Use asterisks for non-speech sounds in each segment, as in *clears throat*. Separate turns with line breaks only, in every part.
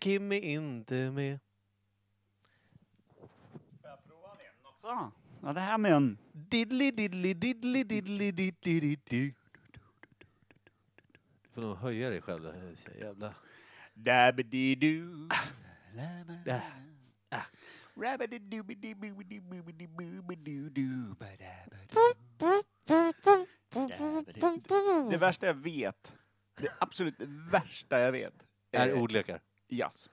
Kim är inte med.
Så, ja, det här med en...
Diddly diddly diddly diddly diddly du. Du får nog höja dig själv. det här är så Jävla.
Dabbididu.
Ah. Ah.
Det värsta jag vet, det absolut värsta jag vet,
Är ordlekar.
jazz.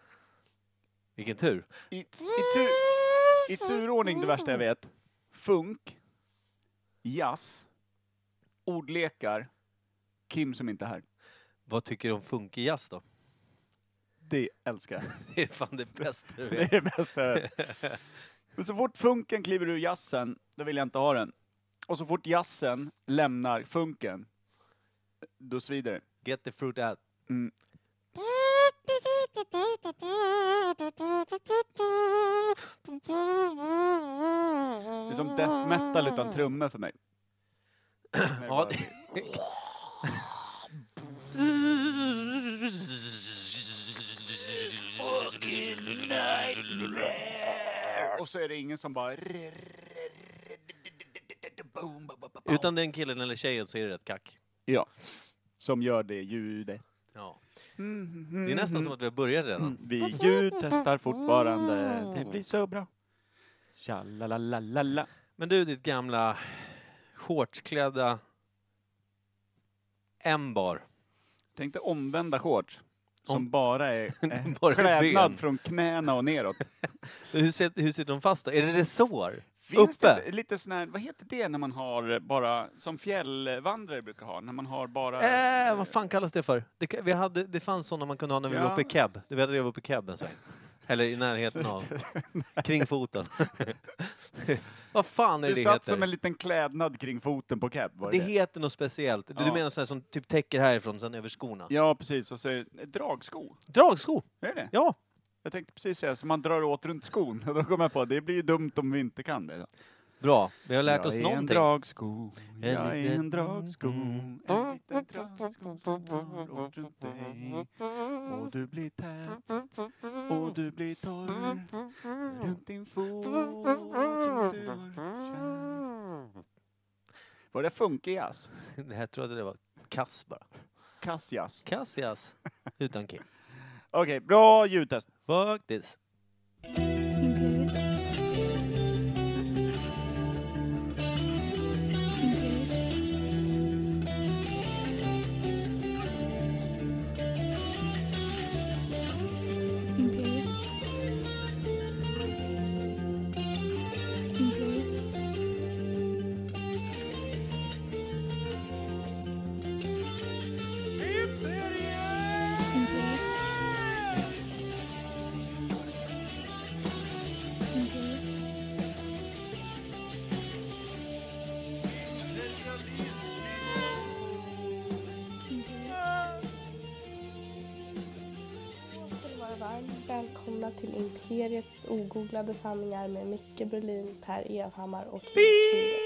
Vilken tur.
I, i, tur, I turordning det värsta jag vet. Funk, jazz, ordlekar, Kim som inte är här.
Vad tycker du om funkig jazz då? *laughs*
Det älskar jag.
Det är fan det bästa du
Det är
vet.
det bästa jag vet. Men så fort funken kliver ur jazzen, då vill jag inte ha den. Och så fort jazzen lämnar funken, då svider det.
Get the fruit out.
Mm. Det är som death metal utan
*clears throat*
trummor för mig.
Ja,
Och så är det ingen som bara...
Utan den killen eller tjejen så är det rätt kack.
Ja. Som gör det ljudet.
Ja. Det är
Mm-hmm.
nästan som att vi har börjat redan.
Vi ljudtestar fortfarande. Det blir så bra. Tjallalalalala.
Men du, ditt gamla shortsklädda M-bar.
Tänk dig omvända shorts. Som
Om- *laughs*
bara är eh,
Bara är
klädnad
ben.
från knäna och neråt.
*laughs* Hur sitter, hur sitter de fast då? Är det resår?
Finns
Uppe?
det inte lite sån här, vad heter det när man har bara, som fjällvandrare brukar ha, när man har bara...
Äh, vad fan kallas det för? Det, ka- vi hade, det fanns sådana man kunde ha när vi var
Ja.
uppe i keb. Du vet att jag var uppe i keb en sväng? Eller i närheten av.
*laughs*
Kring foten. *laughs* vad fan är det
Du
det
satt
heter?
som en liten klädnad kring foten på cab, var
Det
det
heter något speciellt. Du- Du
Ja.
menar sådana som typ täcker härifrån, sen över skorna?
Ja, precis. Och så är det dragsko.
Dragsko!
Är det?
Ja.
Jag tänkte precis säga, så man drar åt runt skon. *laughs* Och då kom jag på, det blir ju dumt om vi inte kan det.
Bra. Vi har lärt
jag
oss
är en
någonting.
dragsko,
En
jag är
liten-
en dragsko. En
Mm.
liten dragsko som drar åt runt dig. Och du blir tät, och du blir torr. Runt din fot som du har kär. Var det funkjazz?
Det här trodde jag det var kass bara.
Kassjazz?
Kass jazz. Utan kim.
Okej, bra ljudtest.
Fuck this.
Imperiet. Imperiet. Imperiet. Imperiet. Imperiet.
ska ni vara varmt välkomna till Imperiet ogooglade sanningar med Micke Berlin, Per Evhammar och Kim Schmider.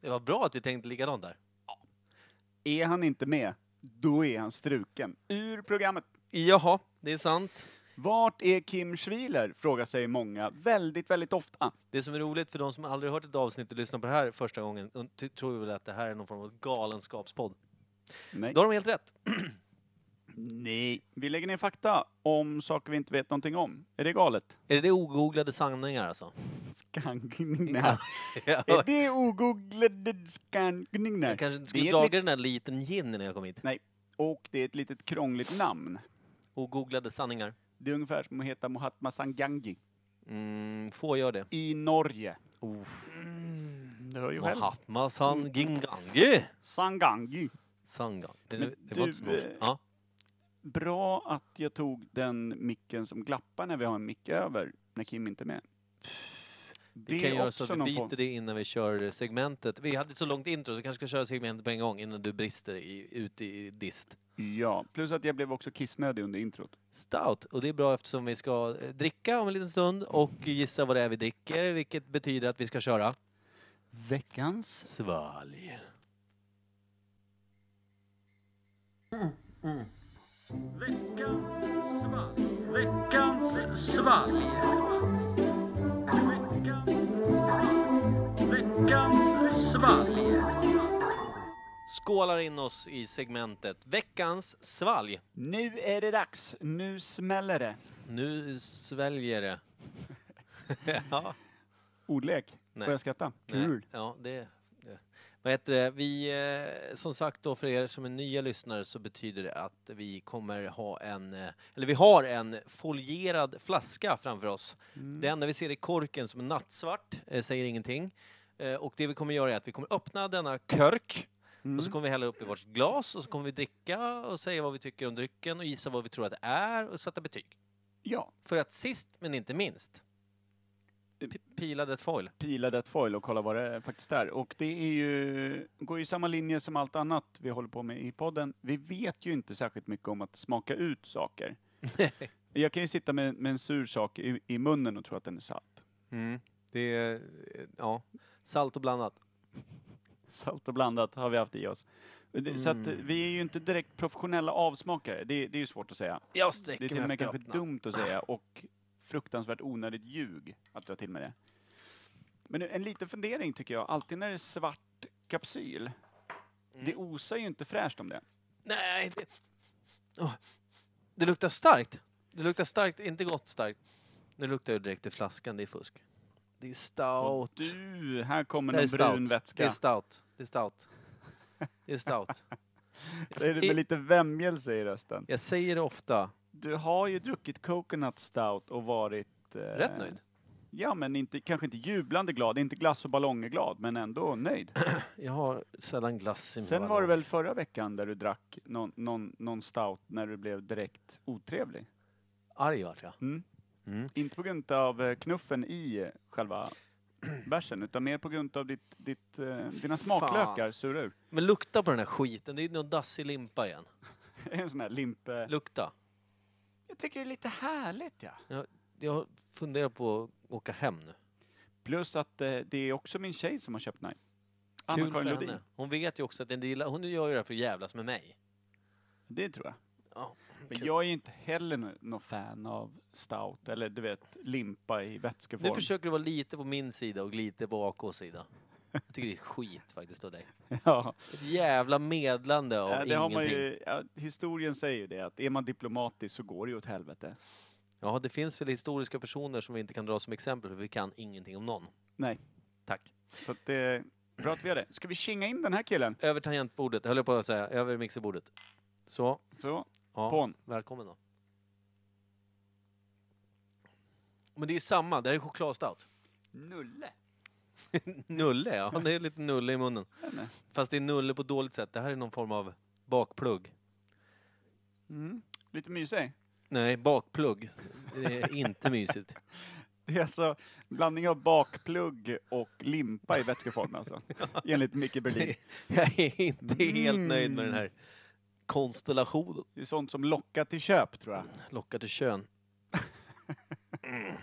Det var bra att vi tänkte likadant där.
Är han inte med, då är han struken ur programmet.
Jaha, det är sant.
Vart är Kim Schwiler? Frågar sig många väldigt, väldigt ofta.
Det som är roligt för de som aldrig hört ett avsnitt och lyssnar på det här första gången un- ty- tror väl att det här är någon form av galenskapspodd.
Nej.
Då har de helt rätt.
Nej. Vi lägger ner fakta om saker vi inte vet någonting om. Är det galet?
Är det det ogooglade sanningar *laughs* alltså?
Skankningar.
Jag
är det ogooglade skankningar?
jag kanske inte
Det
skulle
är ett
dra
lit-
den där liten gin när jag kom hit.
Nej. Och det är ett litet krångligt namn.
Ogooglade sanningar.
Det är ungefär som att heta Mohatma Sangangi
Mm, få gör det.
i Norge.
Oh. Mm.
Du hör ju själv.
Mahatma Sangingangi.
Sangangi.
Sangang. Det,
Men
det var
du,
inte så norskt.
eh,
Ja.
Bra att jag tog den micken som glappar när vi har en mick över, när Kim inte är med. Det
Vi kan
är
göra så
också
att vi
någon
byter
form-
det innan vi kör segmentet. Vi hade ett så långt intro, så vi kanske ska köra segmentet på en gång innan du brister i, ut i dist.
Ja, plus att jag blev också kissnödig under introt.
Stout, och det är bra eftersom vi ska eh, dricka om en liten stund och gissa vad det är vi dricker, vilket betyder att vi ska köra
Veckans...
svalg. Skålar in oss i segmentet Veckans svalg.
Nu är det dags! Nu smäller det!
Nu sväljer det. *laughs* ja.
Ordlek.
Nej.
Börja skratta.
Nej,
Kul!
Ja, det, det. Vad heter det? Vi, eh, som sagt då för er som är nya lyssnare så betyder det att vi kommer ha en, eh, eller vi har en folierad flaska framför oss. Det enda vi ser är korken som är nattsvart, eh, säger ingenting. Eh, och det vi kommer göra är att vi kommer öppna denna körk och så kommer vi hälla upp i vårt glas och så kommer vi dricka och säga vad vi tycker om drycken och gissa vad vi tror att det är och sätta betyg.
Ja,
För att sist men inte minst, pi- pilade ett foil.
pila det foil och kolla vad det faktiskt är. Och det är ju, går ju samma linje som allt annat vi håller på med i podden. Vi vet ju inte särskilt mycket om att smaka
*laughs*
ut saker. Jag kan ju sitta med, med en sur sak i, i munnen och tro att den är salt.
Mm. Det är, eh, ja, salt och blandat.
Salt och blandat har vi haft i oss. Det- Så att eh,
Mm.
vi är ju inte direkt professionella avsmakare, det, det är ju svårt att säga.
Jag
Det är
sträcker
till
mig
och med
efter
kanske
öppna.
dumt att säga och fruktansvärt onödigt ljug att dra till med det. Men en liten fundering tycker jag, alltid när det är svart kapsyl, det
Mm.
osar ju inte fräscht om det.
Nej, det... Åh. det luktar starkt. Det luktar starkt, inte gott starkt. Nu luktar det direkt ur flaskan, det är fusk. Det är
Och
stout.
du, här kommer
Det är
någon
stout.
brun
Det är
*laughs* vätska.
stout. Det är
*laughs*
stout. Det är stout.
Säger du med lite vämjelse i rösten.
Jag säger det ofta.
Du har ju druckit coconut stout och varit... eh,
Rätt nöjd.
Ja, men inte, kanske inte jublande glad, inte glass och ballongeglad, men ändå
*clears throat*
nöjd.
Jag har sällan glass i min
Sen var
vallon.
det väl förra veckan där du drack någon, någon, någon stout när du blev direkt otrevlig?
Arg vart jag.
Mm.
Mm.
Inte på grund av eh, knuffen i eh, själva *clears throat* bärsen, utan mer på grund av ditt, ditt, eh, dina smaklökar sura *laughs* ur.
Men lukta på den här skiten. Det är någon dassig limpa igen.
En sån här eh. limpe...
Lukta.
Jag tycker det är lite härligt, ja.
Jag funderar på att åka hem nu.
Plus att eh, det är också min tjej som har köpt den här.
Kul
Anna-Karin
för
Lodin.
henne. Hon vet ju också att den gillar, hon gör ju det här för att jävlas med mig.
Det tror jag.
Ja,
Men
kul.
jag är inte heller nå- någon fan av stout eller du vet limpa i vätskeform.
Nu försöker du vara lite på min sida och lite på AKs sida. Jag tycker det är skit faktiskt av dig.
*laughs* ja.
Ett jävla medlande av
Ja, det har man
ingenting.
ju, ja, historien säger ju det att är man diplomatisk så går det ju åt helvete.
Ja, det finns väl historiska personer som vi inte kan dra som exempel för vi kan ingenting om någon.
Nej.
Tack.
Så att det, bra att vi gör det. Ska vi kinga in den här killen?
Över tangentbordet, höll jag på att säga, över mixerbordet. Så,
Så,
ja.
på'n.
Välkommen då. Men det är samma, det här är chokladstout. *laughs*
Nulle.
Nulle, ja. Det är lite nulle i munnen.
Eller?
Fast det är nulle på ett dåligt sätt. Det här är någon form av bakplugg.
Mm. Lite mysig.
Nej, bakplugg. Det *laughs* är inte mysigt.
Det är alltså blandning av bakplugg och limpa i vätskeform *laughs* alltså. Enligt Micke Berlin.
Jag är inte helt
Mm.
nöjd med den här konstellationen.
Det är sånt som lockar till köp tror jag.
Lockar till kön. Mm.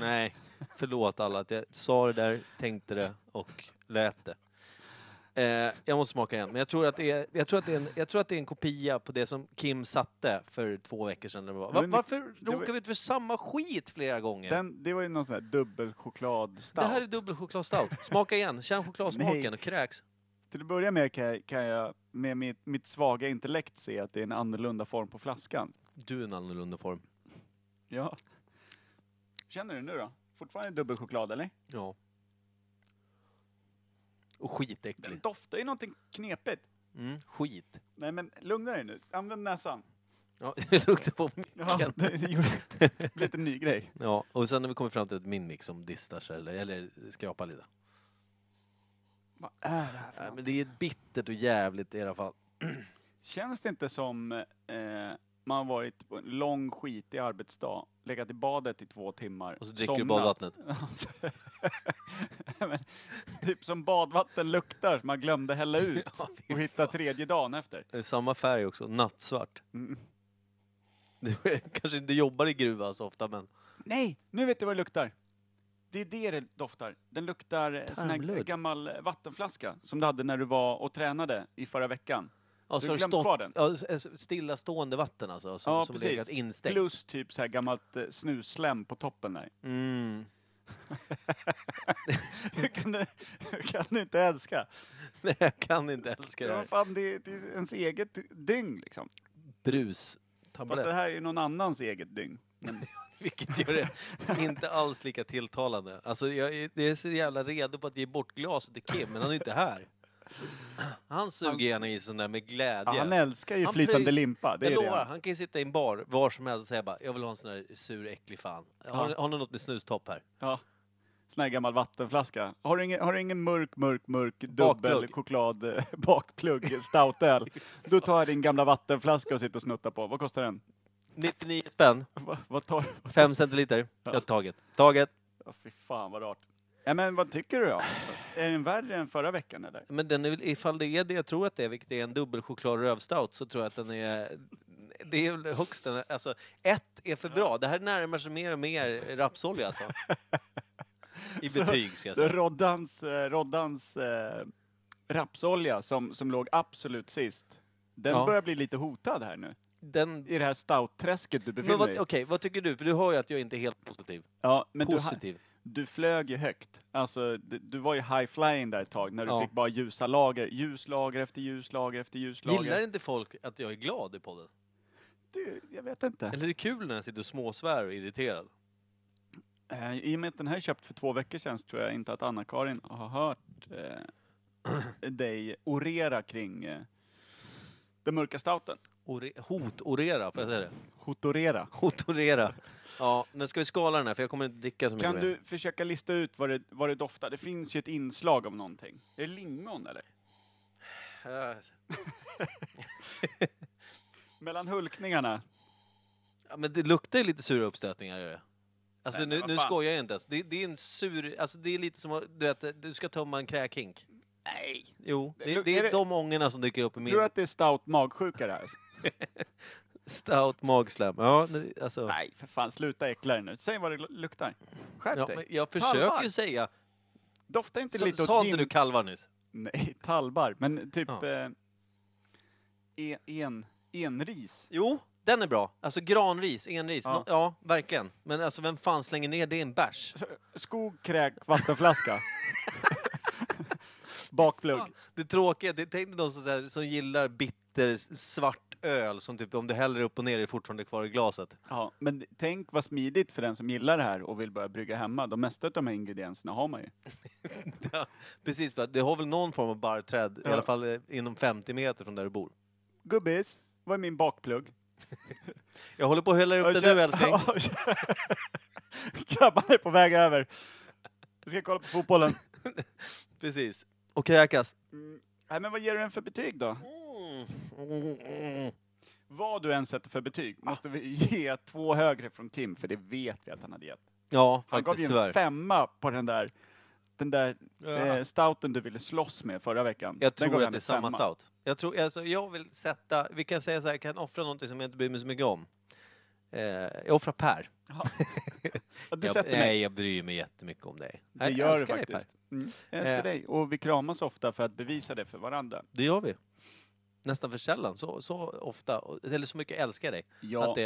Nej, förlåt alla att jag sa det där, tänkte det och lät det. Eh, jag måste smaka igen, men jag tror, att det är, jag, tror att det är en, jag tror att det är en kopia på det som Kim satte för två veckor sedan. eller vad det var.
Men-
varför
var-
råkar vi ut för samma skit flera gånger?
Den, det var ju någon sån där dubbelchoklad stout.
Det här är dubbelchokladstout. Smaka igen, känn
Nej.
chokladsmaken och kräks.
Till att börja med kan jag, kan jag med mitt, mitt svaga intellekt se att det är en annorlunda form på flaskan.
Du är en annorlunda form.
Ja. Känner du nu då? Fortfarande dubbelchoklad eller?
Ja. Och
Den
skitäcklig.
doftar ju någonting knepigt.
Mm, skit.
Nej men lugna dig nu, använd näsan.
Ja, *laughs* det luktar på
Ja,
micken.
det gjorde- det blir *laughs* lite ny grej.
*laughs* Ja, och sen när vi kommer fram till att min mix som distar sig eller, eller skrapar lite.
Vad är det här för
Nej,
något?
men det är bittert och jävligt i alla fall.
Känns det inte som eh, man har varit på en lång skitig arbetsdag, legat i badet i två timmar, *laughs*
Och så dricker du badvattnet.
somnat. men, typ som badvatten luktar som man glömde hälla ut
*laughs* Ja, fy
och hitta
fan.
tredje dagen efter.
Det är Samma färg också, nattsvart. *laughs*
Mm.
Du kanske inte jobbar i gruva så ofta men...
Nej, nu vet du vad det luktar. Det är det det doftar. Den luktar eh, sån här
Tarmludd.
gammal eh, vattenflaska som du hade när du var och tränade i förra veckan.
Ja,
Du
så har det
glömt kvar
stått ja, s- s- stillastående vatten alltså, som,
Ja,
som
precis.
legat instängt.
Plus typ så här gammalt eh, snuslem på toppen där. *laughs*
Mm.
Hur kan du, hur kan du inte älska?
*laughs* Nej, jag kan inte älska det
Ja,
här.
fan, det, är, det är ens eget dygn liksom.
Brus.
Fast det
Tablett.
här är ju någon annans eget dygn.
Vilket gör det
*laughs*
inte alls lika tilltalande. Alltså, jag är, det är så jävla redo på att ge bort glaset till Kim, men han är inte här. Han suger
Han-
gärna i sån där med
Ja,
glädje.
han älskar ju
Han
flytande
pröjs-
limpa. Det är
jag
det.
lovar,
han-
han kan ju sitta i en bar var som helst och säga bara, jag vill ha en sån där sur, äcklig fan. Har,
Ja.
har ni något med snustopp här?
Ja. Sån här gammal vattenflaska. Har du ingen, har du ingen mörk, mörk, mörk dubbel
Bakplugg.
choklad eh, *laughs* bakplugg stoutöl? Då tar jag din gamla vattenflaska och sitter och snuttar på. Vad kostar den?
99 spänn,
Va, vad tar du? *laughs*
5 centiliter. Ja, taget. Taget.
Ja, fy fan vad rart. Ja, men vad tycker du då? Är den värre än förra veckan eller?
Men den är, väl- ifall det är det jag tror att det är, vilket är en dubbelchoklad rövstout, så tror jag att den är... Det är väl högst den, alltså ett är för bra. Det här närmar sig mer och mer rapsolja
*laughs*
alltså. I betyg ska jag
Så
säga.
Roddans, eh, Roddans eh, rapsolja som, som låg absolut sist, den
Ja.
börjar bli lite hotad här nu.
Den,
I det här stoutträsket du
men
befinner
vad,
dig i.
okej, vad tycker du? För du hör ju att jag inte är helt positiv.
Ja, men du, ha-
positiv.
du flög ju högt. Alltså, du, du var ju high-flying där ett tag när du
Ja.
fick bara ljusa lager. Ljuslager efter ljuslager efter ljuslager.
Gillar inte folk att jag är glad i podden?
Du, jag vet inte.
Eller är det kul när jag sitter och småsvär och är irriterad?
Eh, I och med att den här är köpt för två veckor sedan så tror jag inte att Anna-Karin har hört eh, dig orera kring eh, den mörka stouten.
Ore- Hotorera, får jag säga det?
Hotorera.
Hotorera. Ja, men ska vi skala den här? För jag kommer inte dricka så mycket
Kan
mer.
du försöka lista ut vad det, vad det doftar? Det finns ju ett inslag av någonting. Är det lingon eller?
Äh,
Mellan hulkningarna.
Ja, men det luktar ju lite sura uppstötningar. gör det. Alltså
Nej, men
nu,
vad
nu
fan.
skojar jag inte ens. Det, det är en sur... Alltså det är lite som att- du vet, du ska tömma en kräkhink.
Nej!
Jo, det,
Luk-
det är,
är det-
de ångorna som dyker upp i min
Tror du att det är stout magsjuka det här?
stout magslam. Ja, nu, alltså.
Nej, för fan. Sluta äckla dig nu. Säg vad det lu- luktar. Skärp
Ja, men
dig.
jag försöker
Tallar.
ju säga...
Doftar inte
Sa-
lite
Sa
åt
inte
gin...
du kalvar nyss?
Nej, talbar. Men typ...
Ja.
Eh, en, en, enris.
Jo, den är bra. Alltså granris, enris.
Ja.
Ja, ja verkligen. Men alltså vem fan slänger ner det i en
*laughs*
bärs?
Skog, kräk, vattenflaska. *laughs* Bakplugg.
Fan, Det tråkiga, det, tänk dig de som, så här, som gillar bitter s- svart öl som typ om du häller upp och ner är det fortfarande kvar i glaset.
Ja, men tänk vad smidigt för den som gillar det här och vill börja brygga hemma. De mesta av de här ingredienserna har man ju.
*laughs* Ja, precis, bara, det har väl någon form av barrträd,
Ja.
i alla fall eh, inom 50 meter från där du bor.
Gubbis, vad är min bakplugg?
Jag håller på att hälla upp det nu älskling.
*laughs* Grabbarna är på väg över. Vi ska kolla på fotbollen.
Precis. Och kräkas.
Mm. Nej, men vad ger du den för betyg då? Vad du än sätter för betyg måste vi *laughs* ge två högre från Kim, för det vet vi att han hade gett.
Ja,
Han gav ju
faktiskt
en
tyvärr.
femma på den där, den där eh, stouten du ville slåss med förra veckan. Den
Jag
gav
tror
han
att det
en
är samma
femma.
stout. Jag, tror, alltså, jag vill sätta, vi kan säga så här, jag kan offra någonting som jag inte bryr mig så mycket om. Eh, jag offrar Per.
Ja, Du
jag,
sätter mig.
nej, jag bryr mig jättemycket om dig.
Det
Nej, jag
gör du
älskar dig, Per.
faktiskt. Mm. Jag älskar
Eh.
dig. Och vi kramas ofta för att bevisa det för varandra.
Det gör vi. Nästan för sällan, så, så ofta, och- eller så mycket jag älskar dig.
Ja,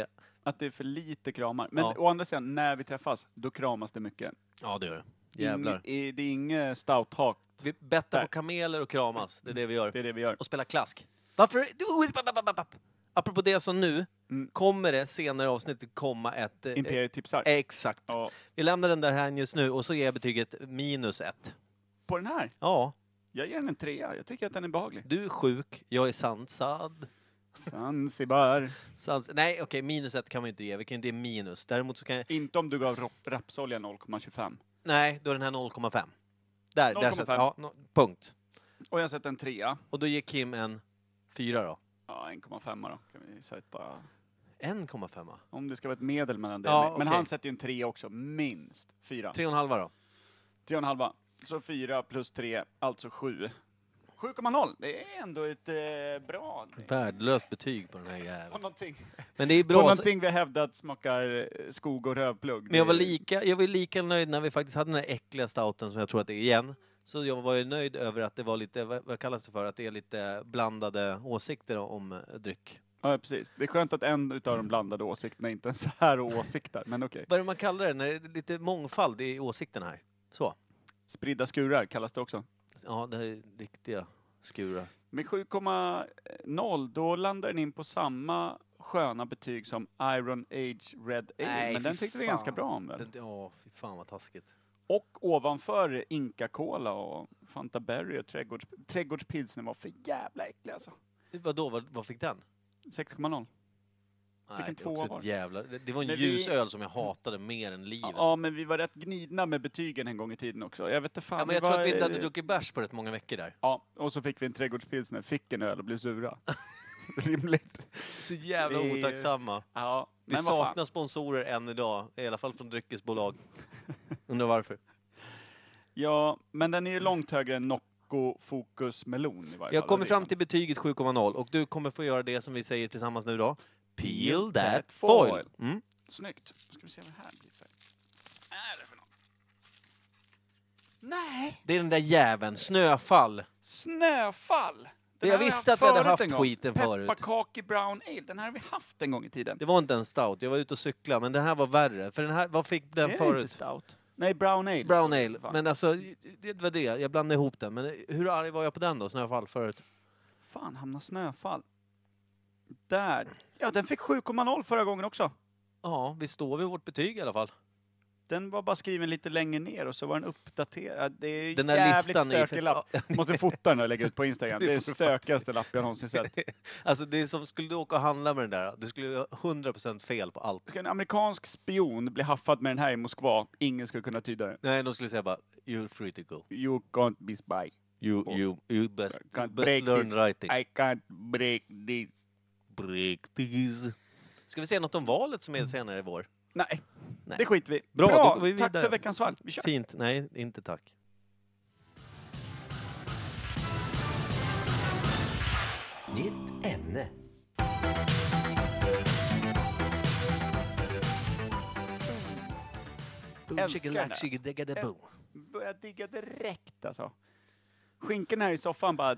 Att det,
är för lite kramar. Men
Ja.
å andra sidan, när vi träffas, då kramas det mycket.
ja, det gör det.
Det är
Jävlar.
ing- i- det är inget stouthak,
Vi bettar
Där.
på kameler och kramas, det är det vi gör.
det är det vi gör.
Och spelar klask. Varför? Du- papp, papp, papp, papp. Apropå det som nu,
Mm.
kommer det senare i avsnittet komma ett... eh,
Imperiet tipsar.
eh, Exakt.
Ja.
Vi lämnar den där här just nu och så ger jag betyget minus ett.
På den här,
Ja,
jag ger den en trea. Jag tycker att den är behaglig.
du är sjuk, jag är sansad.
Zanzibar.
Sans... Nej, okej, minus ett kan man ju inte ge. Vi kan ju inte ge minus. Däremot så kan jag...
Inte om du gav rap- rapsolja 0,25.
Nej, då är den här 0,5. Där, där. satt-
0,5.
Ja, no, punkt.
Och jag sätter en trea.
Och då ger Kim en fyra då.
Ja, 1,5 då kan vi sätta.
1,5.
Om det ska vara ett medel mellan det.
Ja,
Men
okej.
han sätter ju en trea också, minst. Fyra.
Tre och en halva då.
Tre och en halva. Så 4 plus 3, alltså 7. 7,0. Det är ändå ett eh, bra...
Värdelöst betyg på den här
På
jäveln.
någonting,
Men det är
på
bra.
någonting vi hävdat smakar eh, skog och rövplugg.
Men jag var,
Det är-
lika, jag var ju lika nöjd när vi faktiskt hade den här äckliga stouten som jag tror att det är igen. Så jag var ju nöjd över att det var lite, vad vad kallas det för, att det är lite blandade åsikter om eh, dryck.
Ja, precis. Det är skönt att en utav de blandade åsikterna inte ens är åsikter, men okej.
Vad är det man kallar det? När det är lite mångfald i åsikterna här. Så.
Spridda skurar kallas det också.
Ja, det här är riktiga skurar.
Med 7,0 då landar den in på samma sköna betyg som Iron Age Red Ale,
Nej,
men den
fy
tyckte vi
fan.
ganska bra om väl?
Den- Ja, fy fan vad taskigt.
Och ovanför Inca Cola och Fanta Berry och trädgårds, trädgårdspilsner var för jävla äcklig alltså.
Vadå, vad, vad fick den?
6,0
Nej,
en
det, är också
tvåa
ett
var det.
jävla, det, det var en
Men vi-
ljus öl som jag hatade mer än livet.
Ja, men vi var rätt gnidna med betygen en gång i tiden också. Jag vet inte fan.
ja, men
det
jag tror
var-
att vi inte hade druckit bärs på rätt många veckor där.
Ja, och så fick vi en trädgårdspilsner, fick en öl och
*laughs*
blev sura. Rimligt.
Så jävla
Det är ju-
otacksamma.
Ja,
Vi
men vad fan.
saknar sponsorer än idag, i alla fall från *laughs* dryckesbolag. Undrar varför.
Ja, men den är ju långt högre än Nocco Focus Melon i varje fall.
Jag kommer
Det är
fram
man.
till betyget 7,0 och du kommer få göra det som vi säger tillsammans nu då. Peel that
that
foil.
foil.
Mm.
Snyggt. Då ska vi se vad det här blir för... Är det för något? Nej!
Det är den där jäveln, snöfall.
Snöfall!
Jag
Den här har vi
visste
haft
att vi hade
förut
haft
en gång.
skiten förut.
Pepparkaki Brown Ale, den här har vi haft en gång i tiden.
Det var inte en stout, jag var ute och cykla men den här var värre. För den här, vad fick den
är
förut?
inte stout. Nej, Brown Ale.
Brown ale.
Fan.
Men alltså, det var det. Jag blandade ihop den. Men hur arg var jag på den då, Snöfall, förut?
Fan, hamnar Snöfall. Där. Ja, den fick 7,0 förra gången också.
Ja, vi står vid vårt betyg i alla fall.
Den var bara skriven lite längre ner och så var den uppdaterad. Det är
Den där
jävligt
listan är ju
stökig
för- *laughs*
lapp. Måste fota den och lägga ut på Instagram.
Det
Det är den
får du faktiskt.
stökigaste lapp jag någonsin sett.
*laughs* Alltså, det är som, skulle du åka och handla med den där, du skulle ju ha 100% fel på allt.
Ska en amerikansk spion bli haffad med den här i Moskva, ingen skulle kunna tyda det.
Nej, de skulle säga bara “You're free to go.
You can't be spy.
You,
Och-
you, you best,
I
you
can't
best
break
learn
this.
writing.
I can't break this.
Break this. Ska vi säga något om valet som
Mm.
är senare i vår?
Nej,
Nej.
det skiter vi i.
Bra, då
Bra.
går vi
tack
vidare.
för veckans val. Vi kör.
Fint. Nej, inte tack. Nytt ämne.
Älskar den här. Börjar digga direkt alltså. Skinken här i soffan bara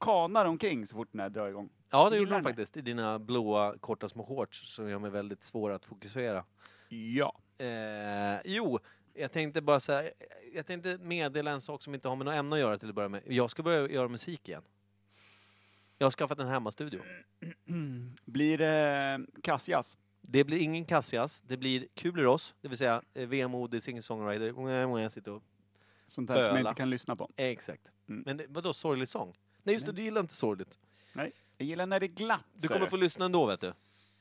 kanar omkring så fort den här drar igång.
Ja, det
Gillar
gjorde de
den här.
faktiskt. I dina blåa korta små shorts som gör mig väldigt svår att fokusera.
Ja.
Eh, jo, jag tänkte bara så här, jag tänkte meddela en sak som inte har med något ämne att göra till att börja med. Jag ska börja göra musik igen. Jag har skaffat en hemmastudio.
Mm. Blir det kassjazz?
Det blir ingen Cassias, det blir Kuleros, det vill säga eh, vemodig singer-songwriter. Jag sitter och...
Sånt där som jag
Böla.
inte kan lyssna på.
Eh, Exakt.
Mm.
Men det- vadå, sorglig sång? Nej just det, du gillar inte sorgligt.
Jag gillar när det är glatt.
Du kommer få lyssna ändå vet du.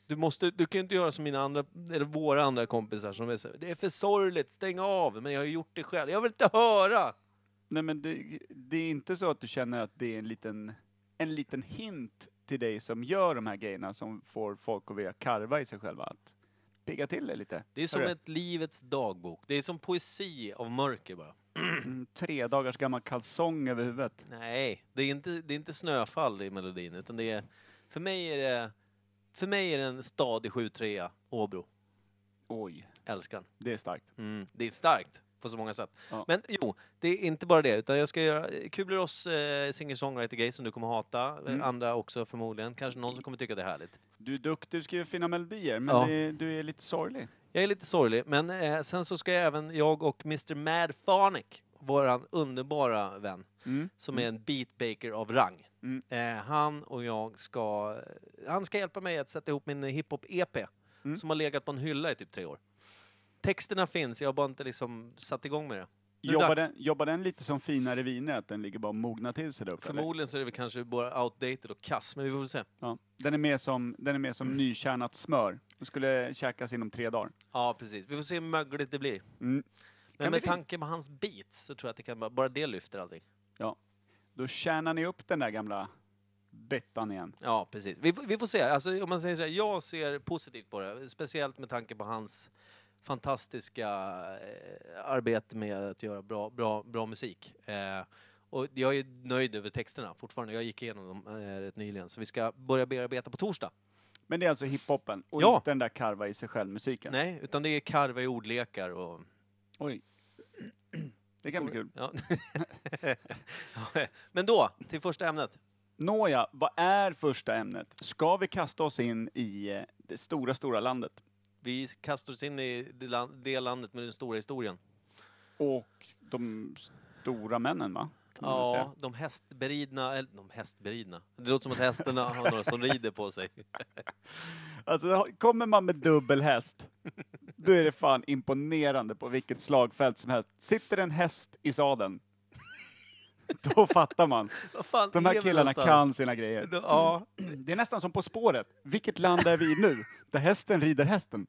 Du, måste, du kan ju inte göra som mina andra, eller våra andra kompisar som är så här, det är för sorgligt, stäng av! Men jag har ju gjort det själv, jag vill inte höra!
Nej men det, det är inte så att du känner att det är en liten, en liten hint till dig som gör de här grejerna som får folk att vilja karva i sig själva att pigga till det lite.
Det är som
Hörru.
ett livets dagbok. Det är som poesi av mörker bara.
Mm, tre dagars gammal kalsong över huvudet.
Nej, det är inte, det är inte snöfall i melodin utan det är, för mig är det, för mig är det en stadig 7-3 Åbro.
Oj,
Älskar den.
det är starkt.
Mm. Det är starkt på så många sätt.
Ja.
Men jo, det är inte bara det. Utan jag ska göra eh, Kubler-Ross eh, singer-songwriter-grej som du kommer hata. eh,
Mm.
Andra också förmodligen. Kanske någon som kommer tycka det är härligt.
Du är duktig, du skriver fina melodier, men
Ja.
det, du är lite sorglig.
Jag är lite sorglig, men eh, sen så ska jag även jag och Mr. Mad Phonic, våran underbara vän,
Mm.
som är en beatbaker av rang.
Mm.
Eh, han och jag ska... Han ska hjälpa mig att sätta ihop min hiphop-EP
Mm.
som har legat på en hylla i typ tre år. Texterna finns, jag har bara inte liksom satt igång med det. Nu är det
Jobbar
dags.
den, jobbar den lite som finare viner, att den ligger bara och mognar till sig där uppe? eller?
Förmodligen så är det väl kanske bara outdated och kass, men vi får väl se.
Ja. Den är mer som, den är mer som nykärnat smör. Den skulle käkas inom tre dagar.
Ja, precis. Vi får se hur mögligt det blir.
Mm.
Men
bli
med
fint.
tanke på hans beats så tror jag att det kan bara, bara det lyfter allting.
Då kärnar ni upp den där gamla byttan igen.
Ja, precis. Vi, får- vi får se. Alltså, om man säger så här, jag ser positivt på det. Speciellt med tanke på hans fantastiska eh, arbete med att göra bra, bra, bra musik. Eh, och jag är nöjd över texterna fortfarande. Jag gick igenom dem eh, rätt nyligen. Så vi ska börja bearbeta på torsdag.
Men det är alltså hiphopen och
Ja.
inte den där karva i sig själv-musiken?
Nej, utan det är karva i ordlekar och...
Oj. *clears throat* Det kan bli kul.
Ja. *laughs* Men då, till första ämnet.
Nåja, vad är första ämnet? Ska vi kasta oss in i eh, det stora, stora landet?
Vi kastar oss in i det lan- det landet med den stora historien.
Och de stora männen, va? Kan man väl säga.
Ja, de hästberidna, eller de hästberidna. Det låter som att hästarna har några som rider på sig.
Alltså, har- kommer man med dubbel häst, då är det fan imponerande på vilket slagfält som helst. Sitter en häst i sadeln, då fattar man.
*laughs* Vad fan
De
är
här
vi
killarna kan
någonstans?
sina grejer.
De- Ja,
Det är nästan som På spåret. Vilket land är vi i nu? Där hästen rider hästen.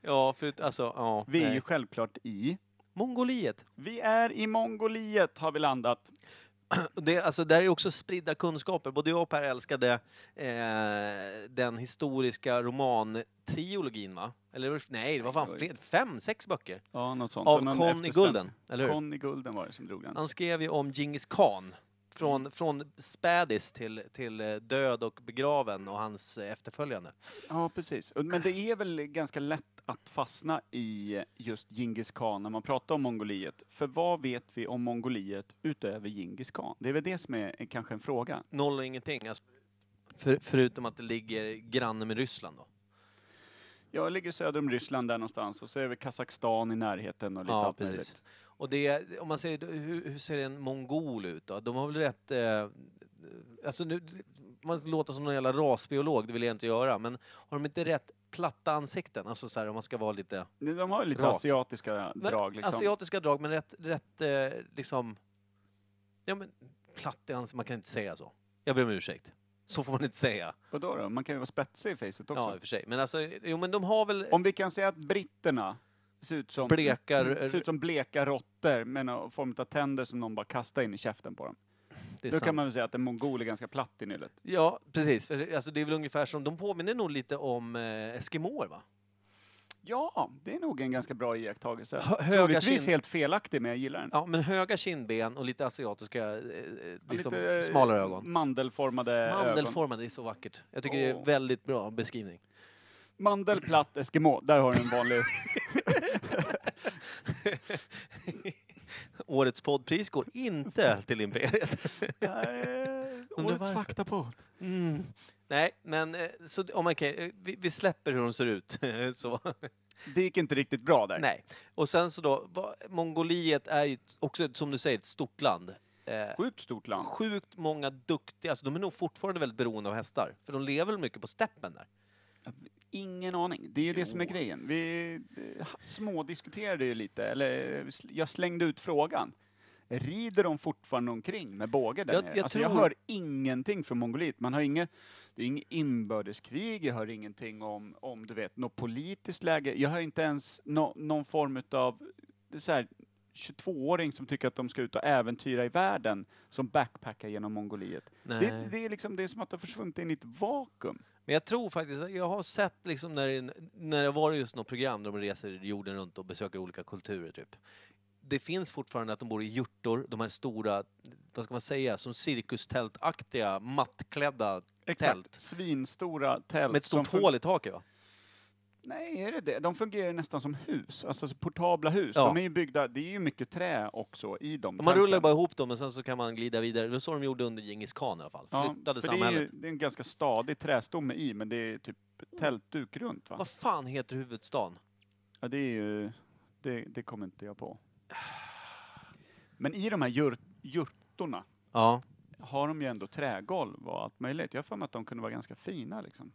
ja, för, alltså, ja.
Vi är
nej.
ju självklart i...
Mongoliet.
Vi är i Mongoliet, har vi landat.
Och Det, alltså, där är också spridda kunskaper. Både jag och Per älskade eh, den historiska romantriologin, va? Eller var det- nej, det var fan
Oj.
fler, fem, sex böcker.
Ja, något sånt.
Av
Och någon
Conny
efterställ-
Gulden, eller hur?
Conny Gulden var det som drog den.
Han skrev ju om Genghis Khan. Från, från spädis till, till eh, död och begraven och hans eh, efterföljande.
Ja, precis. Och- Men det är väl ganska lätt att fastna i just Genghis khan när man pratar om Mongoliet. För vad vet vi om Mongoliet utöver Genghis khan? Det är väl det som är eh, kanske en fråga.
Noll och ingenting. Alltså, för, förutom att det ligger granne med Ryssland då.
Jag ligger söder om Ryssland där någonstans och så är väl Kazakstan i närheten och lite
Ja,
allt
precis.
möjligt.
Och det, om man säger, då, hur, hur ser en mongol ut då? De har väl rätt... Eh, alltså nu, man låter som någon jävla rasbiolog, det vill jag inte göra, men har de inte rätt platta ansikten? Alltså så här, om man ska vara lite...
Nej, De har ju lite
Rak.
asiatiska
Men,
drag liksom.
Asiatiska drag, men rätt, rätt eh, liksom... Ja men, platt i ansiktet, man kan inte säga så. Jag ber om ursäkt. Så får man inte säga.
Och då, då? Man kan ju vara spetsig i facet också.
Ja, i och för sig. Men alltså, jo men de har väl...
Om vi kan säga att britterna ser ut som
Bleka-
mm, ser ut som bleka råttor med någon form av tänder som någon bara kastar in i käften på dem.
det är
Då
sant.
kan man väl säga att en mongol är ganska platt i nyllet.
Ja, precis. För, Alltså, det är väl ungefär som, de påminner nog lite om eh, eskimåer va?
Ja, det är nog en ganska bra iakttagelse.
Hö- höga
Troligtvis
kind-
helt felaktig, men jag gillar den.
Ja, men höga kindben och lite asiatiska, eh, eh,
Ja,
liksom
lite, eh,
smalare ögon.
Mandelformade ögon.
Mandelformade, det är så vackert. Jag tycker det är
Åh.
en väldigt bra
*laughs*
beskrivning.
Mandelplatt Eskimo, där har du en
*laughs*
vanlig.
Årets poddpris går inte till Imperiet.
*laughs* Eh, Årets
varför.
faktapodd.
Mm. Nej, men eh, så, d- om man kan, eh, vi, vi släpper hur de ser ut. *laughs* så.
Det gick inte riktigt bra där.
Nej. Och sen så då, va, Mongoliet är ju ett- också, ett- som du säger, ett stort land. Eh,
Sjukt stort land.
sjukt många duktiga, alltså de är nog fortfarande väldigt beroende av hästar. För de lever väl mycket på steppen där.
Ingen aning. Det är ju det som är grejen. Vi eh, smådiskuterade ju lite, eller eh, sl- jag slängde ut frågan. Rider de fortfarande omkring med båge där
Jag-
nere?
jag
alltså jag
tror-
hör ingenting från Mongoliet. Man har inget, det är inget inbördeskrig, jag hör ingenting om, om du vet, något politiskt läge. Jag hör inte ens nå- någon form utav det är så här, 22-åring som tycker att de ska ut och äventyra i världen, som backpackar genom Mongoliet.
Nej.
Det, det är liksom det är som att det har försvunnit in i ett vakuum.
Men jag tror faktiskt, att jag har sett liksom när det, när det var just något program där de reser jorden runt och besöker olika kulturer typ. Det finns fortfarande att de bor i hjortor, de här stora, vad ska man säga, som cirkustältaktiga mattklädda tält.
Svinstora tält.
Med ett stort
som fun-
hål i taket va?
Nej, är det det? De fungerar nästan som hus, alltså så portabla hus.
Ja.
De är ju byggda, det är ju mycket trä också i dem.
Man rullar
tälten.
bara ihop dem och sen så kan man glida vidare. Det var så de gjorde under Djingis khan i alla fall.
Ja,
Flyttade
för
samhället.
Det är, ju, det är en ganska stadig trästomme i, men det är typ tältduk runt va?
Vad fan heter huvudstaden?
Ja, det är ju, det, det kommer inte jag på. Men i de här jurt, jurtorna
Ja.
har de ju ändå trägolv och allt möjligt. Jag har för mig att de kunde vara ganska fina liksom.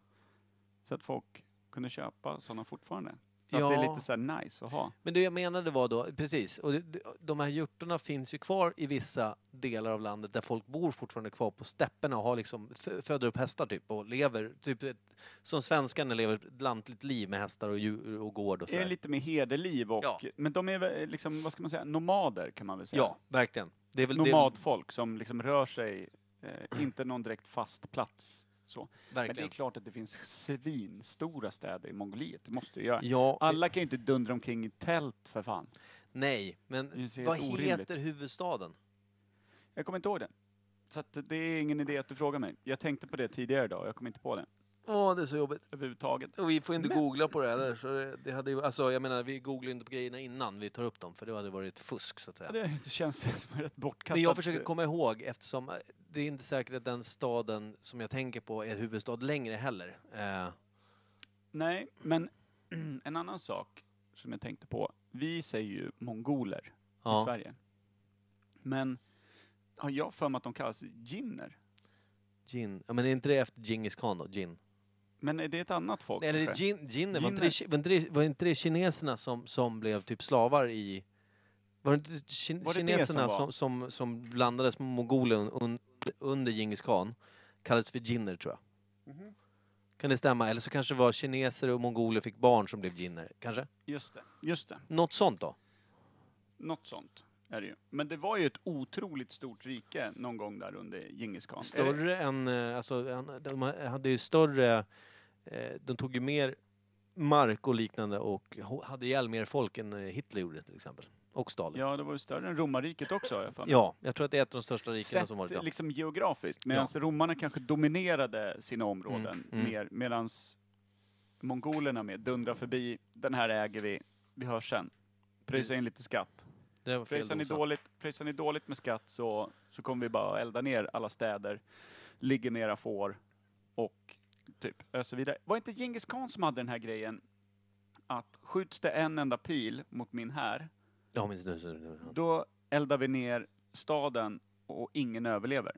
Så att folk kunde köpa sådana fortfarande. Så att det är
Ja.
lite så här nice att ha.
Men det jag menade var då, precis, och det- det- de här hjortorna finns ju kvar i vissa delar av landet där folk bor fortfarande kvar på stäpperna och har liksom, fö- föder upp hästar typ och lever, typ ett, som svenskarna lever ett lantligt liv med hästar och djur och gård och så
Är det
här.
lite mer hederliv och,
Ja.
men de är väl liksom, vad ska man säga, nomader kan man väl säga?
Ja, verkligen. Det är väl det-
Nomadfolk som liksom rör sig, eh, inte någon direkt fast plats Så. Men det är
Verkligen.
klart att det finns svinstora städer i Mongoliet, det måste det göra.
Ja, eh,
Alla kan ju inte dundra omkring i tält för fan.
nej,
Det
men
ser
vad
helt
heter
orimligt.
huvudstaden?
Jag kommer inte ihåg det. Så att det är ingen idé att du frågar mig. Jag tänkte på det tidigare idag och jag kom inte på det
Åh, det är så jobbigt.
överhuvudtaget.
Och vi får inte
Men-
googla på det heller. Så det, det hade, ju- alltså, jag menar, vi googlar inte på grejerna innan vi tar upp dem, för det hade varit fusk så att säga.
Ja, Det det känns *laughs* som rätt bortkastat.
Men jag försöker komma ihåg eftersom eh, det är inte säkert att den staden som jag tänker på är huvudstad längre heller. Eh,
Nej, men *clears throat* en annan sak som jag tänkte på. Vi säger ju mongoler i
ja.
Sverige. Men har jag för mig att de kallas jinner?
Gin. Ja, men är inte det efter Djingis khan då? Gin.
Men är det ett annat folk?
Nej, eller
kanske?
gin, ginner. Var inte, det,
Ginner.
var, inte det, var inte det kineserna som, som blev typ slavar i... Var det inte kin,
Var det det
kineserna
som
som,
var?
som, som, blandades med mongolen un, under Djingis khan? Kallades för ginner tror jag.
Mhm.
Kan det stämma? Eller så kanske det var kineser och mongoler fick barn som blev ginner. Kanske?
Just det, just det.
Något sånt då?
Något sånt är det ju. Men det var ju ett otroligt stort rike någon gång där under Djingis khan. Är det-
Större än, eh, alltså, en- de hade ju större, eh, de tog ju mer mark och liknande och ho- hade ihjäl mer folk än eh, Hitler gjorde till exempel. Och Stalin. Ja,
Ja, det var ju större än romarriket också har jag för mig.
jag tror att det är ett av de största rikena som varit.
Sett
Ja.
liksom geografiskt, medan romarna kanske dominerade sina områden
mm.
mer, medan mongolerna mer dundrar förbi, den här äger vi, vi hörs sen. Pröjsa in lite skatt.
Det var Mm. fel
Pröjsar ni,
dosa.
dåligt, pröjsar ni dåligt med skatt så, så kommer vi bara elda ner alla städer, ligger med era får och typ öser vidare. Var det inte Djingis khan som hade den här grejen att skjuts det en enda pil mot min här,
Ja, minns nu. så- nu-
då eldar vi ner staden och ingen överlever.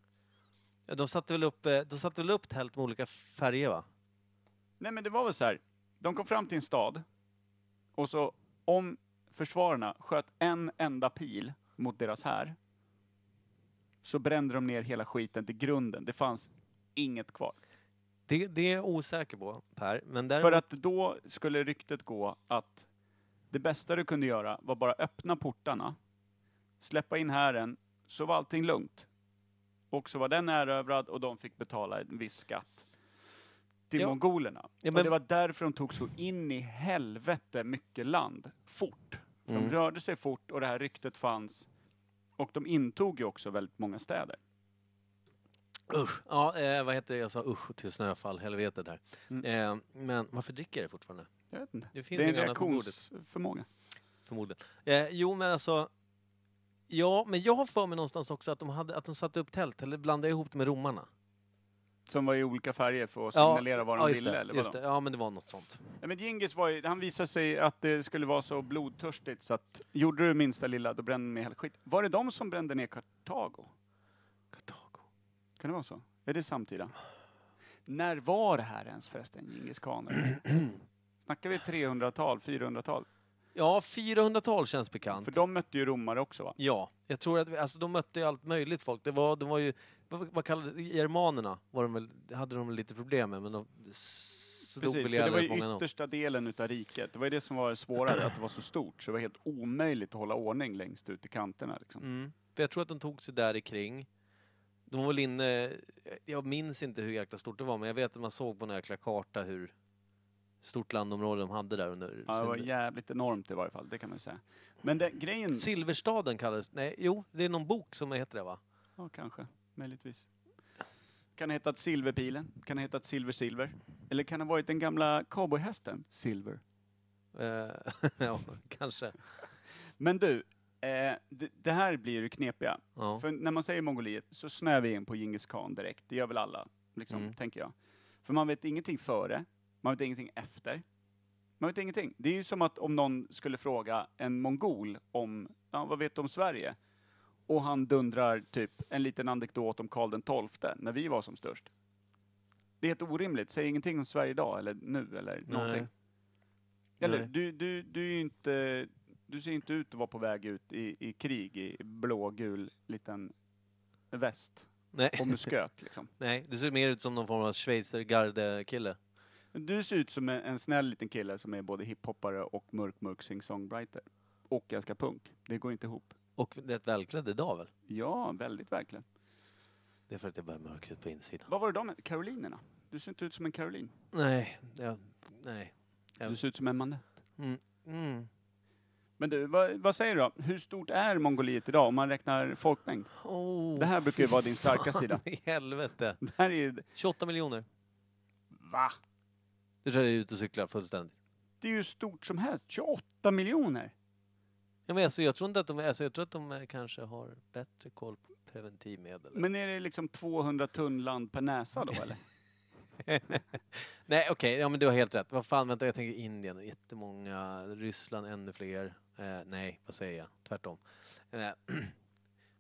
ja. De satte väl upp, eh, de satte väl upp tält med olika färger va?
Nej men det var väl så här. de kom fram till en stad och så om försvararna sköt en enda pil mot deras här så brände de ner hela skiten till grunden. Det fanns inget kvar.
Det, det är jag osäker på Per, men däremot...
För att då skulle ryktet gå att det bästa du kunde göra var bara öppna portarna, släppa in hären, så var allting lugnt. Och så var den erövrad och de fick betala en viss skatt till
Ja.
mongolerna.
Ja,
Och
men-
det var därför de tog så in i helvete mycket land, fort. För
Mm.
De rörde sig fort och det här ryktet fanns. Och de intog ju också väldigt många städer.
Usch! Ja, eh, vad heter det? Jag sa usch till snöfall, helvetet där.
Mm.
Eh, men varför dricker jag det fortfarande?
Jag vet inte.
Det
Det,
finns
är en
inget annat på bordet.
reaktionsförmåga.
Förmodligen. Eh, jo, men alltså... Ja, men jag har för mig någonstans också att de, hade, att de satte upp tält, eller blandade ihop det med romarna.
Som var i olika färger för att signalera vad de
ja, just
ville.
det,
eller vadå?
just det. Ja, men det var något sånt.
Nej, men Djingis var ju, han visade sig att det skulle vara så blodtörstigt så att gjorde du minsta lilla då brände ni hela skit. Var det de som brände ner Kartago?
Kartago.
Kan det vara så? Är det samtida? När var det här ens förresten,
*clears throat*
Djingis khaner? Snackar vi 300-tal, 400-tal?
Ja, 400-tal känns bekant.
För de mötte ju romare också va?
Ja, jag tror att vi, alltså, de mötte ju allt möjligt folk. Det var, de var ju, vad, vad kallade det, germanerna var de väl, hade de väl lite problem med, men de slog
Precis,
väl
för det
ihjäl
var
rätt
ju
många ytter...
yttersta delen utav riket. Det var ju det som var svårare, att det var så stort. Så det var helt omöjligt att hålla ordning längst ut i kanterna. Liksom.
mm. För jag tror att de tog sig där i kring. De var väl inne, jag minns inte hur jäkla stort det var, men jag vet att man såg på någon jäkla karta hur stort landområde de hade där under
Ja, det var
sin-
jävligt enormt i varje fall, det kan man ju säga. Men den, grejen...
Silverstaden kallades Nej, jo, det är någon bok som heter det va?
Ja, kanske. Möjligtvis. Kan ha hetat Silverpilen, kan ha hetat Silver Silver. Eller kan ha varit den gamla cowboyhästen, Silver.
Eh, *laughs* ja, kanske.
Men du, eh, det, det här blir ju knepiga.
Ja.
För när man säger Mongoliet så snöar vi in på Djingis khan direkt. Det gör väl alla, liksom,
Mm.
tänker jag. För man vet ingenting före, man vet ingenting efter. Man vet ingenting. Det är ju som att om någon skulle fråga en mongol om, ja, vad vet du om Sverige? Och han dundrar typ en liten anekdot om Karl den XII, när vi var som störst. Det är helt orimligt. Säg ingenting om Sverige idag, eller nu, eller någonting. Eller
Nej.
du, du, du är ju inte, du ser inte ut att vara på väg ut i, i krig i blågul liten väst
Nej, *laughs*
och musköt liksom.
nej, det ser mer ut som någon form av schweizergarde-kille.
Du ser ut som en, en snäll liten kille som är både hiphoppare och mörk mörk sing-songwriter. Och ganska punk. Det går inte ihop.
Och rätt välklädd idag väl?
Ja, väldigt verkligen.
Det är för att det börjar mörkret på insidan.
Vad var det de Karolinerna? Du ser inte ut som en Caroline.
Nej, ja, nej. Ja.
Du ser ut som en Manette.
Mm. Mm.
Men du, vad, vad säger du då? Hur stort är Mongoliet idag om man räknar folkmängd?
Oh,
Det här brukar ju
fy
vara din starka
fan
sida.
i helvete.
Det här är ju...
28 miljoner.
Va?
Du tror jag är ute och cyklar fullständigt.
Det är ju stort som helst. 28 miljoner!
Ja, men alltså, jag tror inte att de, alltså, jag tror att de eh, kanske har bättre koll på preventivmedel.
Men är det liksom 200 tunnland per näsa då eller?
*laughs* Nej, okej, ja men du har helt rätt. Vad fan, vänta, jag tänker Indien, jättemånga, Ryssland ännu fler. Eh, nej, vad säger jag? Tvärtom. Eh, *clears throat* nej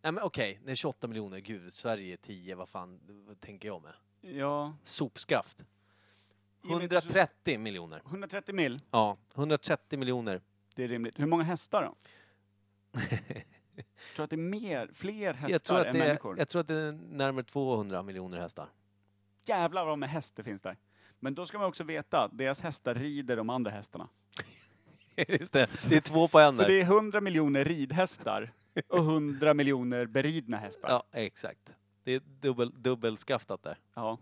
men okej, det är 28 miljoner, gud, Sverige är 10, vad fan vad tänker jag med?
Ja,
Sopskaft.
men det är
130 miljoner.
130 mil.
Ja, 130 miljoner.
Det är rimligt. Hur många
*laughs*
hästar då? tror du att det är mer, fler hästar
Jag tror,
än
att det är,
människor?
jag tror att det är närmare 200 miljoner
*laughs*
hästar.
Jävlar vad med häst det finns där. Men då ska man också veta att deras hästar rider de andra hästarna.
Just det, det är två på en
Så
där.
det är 100 miljoner ridhästar och 100 miljoner beridna hästar.
Ja, exakt. Det är dubbel, dubbelskaftat där.
Ja.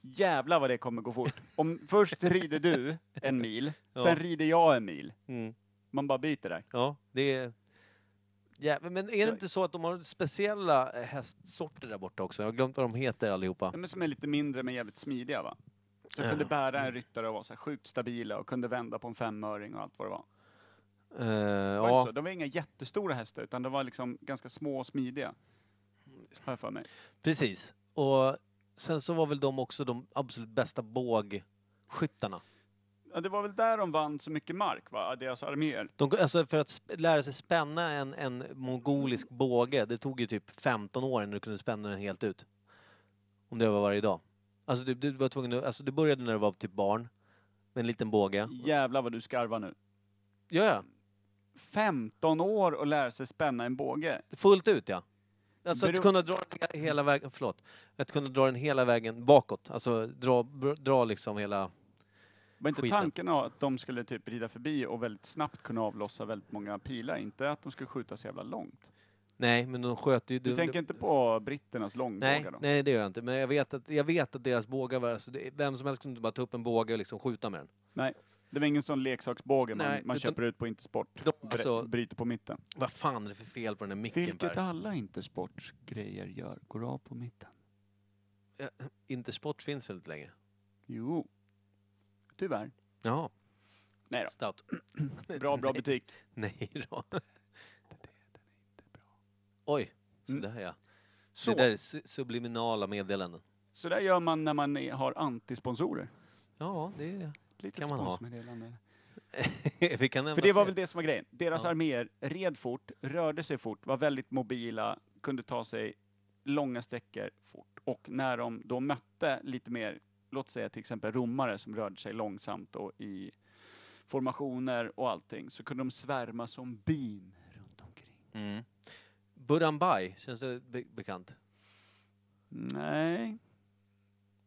Jävlar vad det kommer gå fort. Om först rider du en mil,
*laughs* Ja.
sen rider jag en mil.
Mm.
Man bara byter där.
Ja, det är... Ja, men är det
Jag-
inte så att de har speciella eh, hästsorter där borta också? Jag har glömt vad de heter allihopa.
Ja, men som är lite mindre men jävligt smidiga va? Så kunde bära en ryttare och vara så här sjukt stabila och kunde vända på en femöring och allt vad det var.
Eh,
Var det inte
ja,
så? De var inga jättestora hästar utan de var liksom ganska små och smidiga. Har jag för mig.
precis. Och sen så var väl de också de absolut bästa bågskyttarna.
Ja, det var väl där de vann så mycket mark va? Deras arméer.
De, alltså för att sp- lära sig spänna en, en mongolisk båge, det tog ju typ 15 år innan du kunde spänna den helt ut. Om det var varje dag. Alltså du, du var tvungen att, alltså du började när du var typ barn, med en liten båge.
Jävlar vad du skarvar nu.
Ja, ja.
15 år och lära sig spänna en båge.
Fullt ut, ja. Alltså att
Bero-
kunna dra den hela vägen, förlåt, att kunna dra den hela vägen bakåt. Alltså dra, br- dra liksom hela...
Var inte
Skiten.
tanken att de skulle typ rida förbi och väldigt snabbt kunna avlossa väldigt många pilar? Inte att de skulle skjuta så jävla långt.
Nej, men de sköt ju...
Du,
de-
tänker
de-
inte på britternas
nej,
långbågar då?
nej, det gör jag inte. Men jag vet att, jag vet att deras bågar var... Alltså, det, vem som helst kunde bara ta upp en båge och liksom skjuta med den.
Nej. Det var ingen sån leksaksbåge man,
Nej,
man
utan-
köper ut på Intersport.
De,
Bre-
alltså,
bryter på mitten.
vad fan är det för fel på den där micken,
Vilket
Per?
alla Intersports grejer gör. Går av på mitten.
Intersport finns väl inte längre?
Jo. Tyvärr.
Jaha.
Nej då.
Stout.
*clears throat*
*laughs*
Bra, bra butik.
Nej *laughs* då. Oj,
Mm.
sådär ja.
Så,
Det där är su- subliminala meddelanden.
så där gör man när man är, har antisponsorer.
Ja, det är...
Lite
Kan man ha.
sponsmeddelande.
*laughs* Vi kan nämna
För det var
fler.
väl det som var grejen. Deras
Ja.
arméer red fort, rörde sig fort, var väldigt mobila, kunde ta sig långa sträckor fort. Och när de då mötte lite mer, låt säga till exempel romare som rörde sig långsamt och i formationer och allting, så kunde de svärma som bin runt omkring.
Mm. Burhanbai, känns det be bekant?
Nej.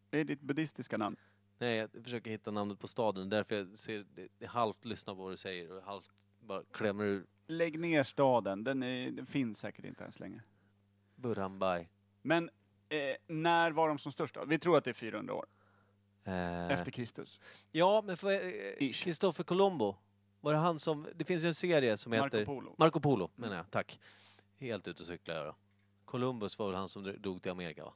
Det är ditt buddhistiska namn.
Nej, jag försöker hitta namnet på staden. Därför jag ser, jag halvt lyssnar på vad du säger och halvt bara klämmer ur
Lägg ner staden, den, är, den finns säkert inte ens längre.
Burhanbai.
Men eh, när var de som störst då? Vi tror att det är 400 år
Eh,
efter Kristus.
Ja, men för, eh,
Ish.
Christopher Colombo, var det han som... Det finns ju en serie som
Marco
heter...
Polo.
Marco Polo, menar jag. Tack. Helt ute och cyklar jag då. Columbus var väl han som drog till Amerika, va?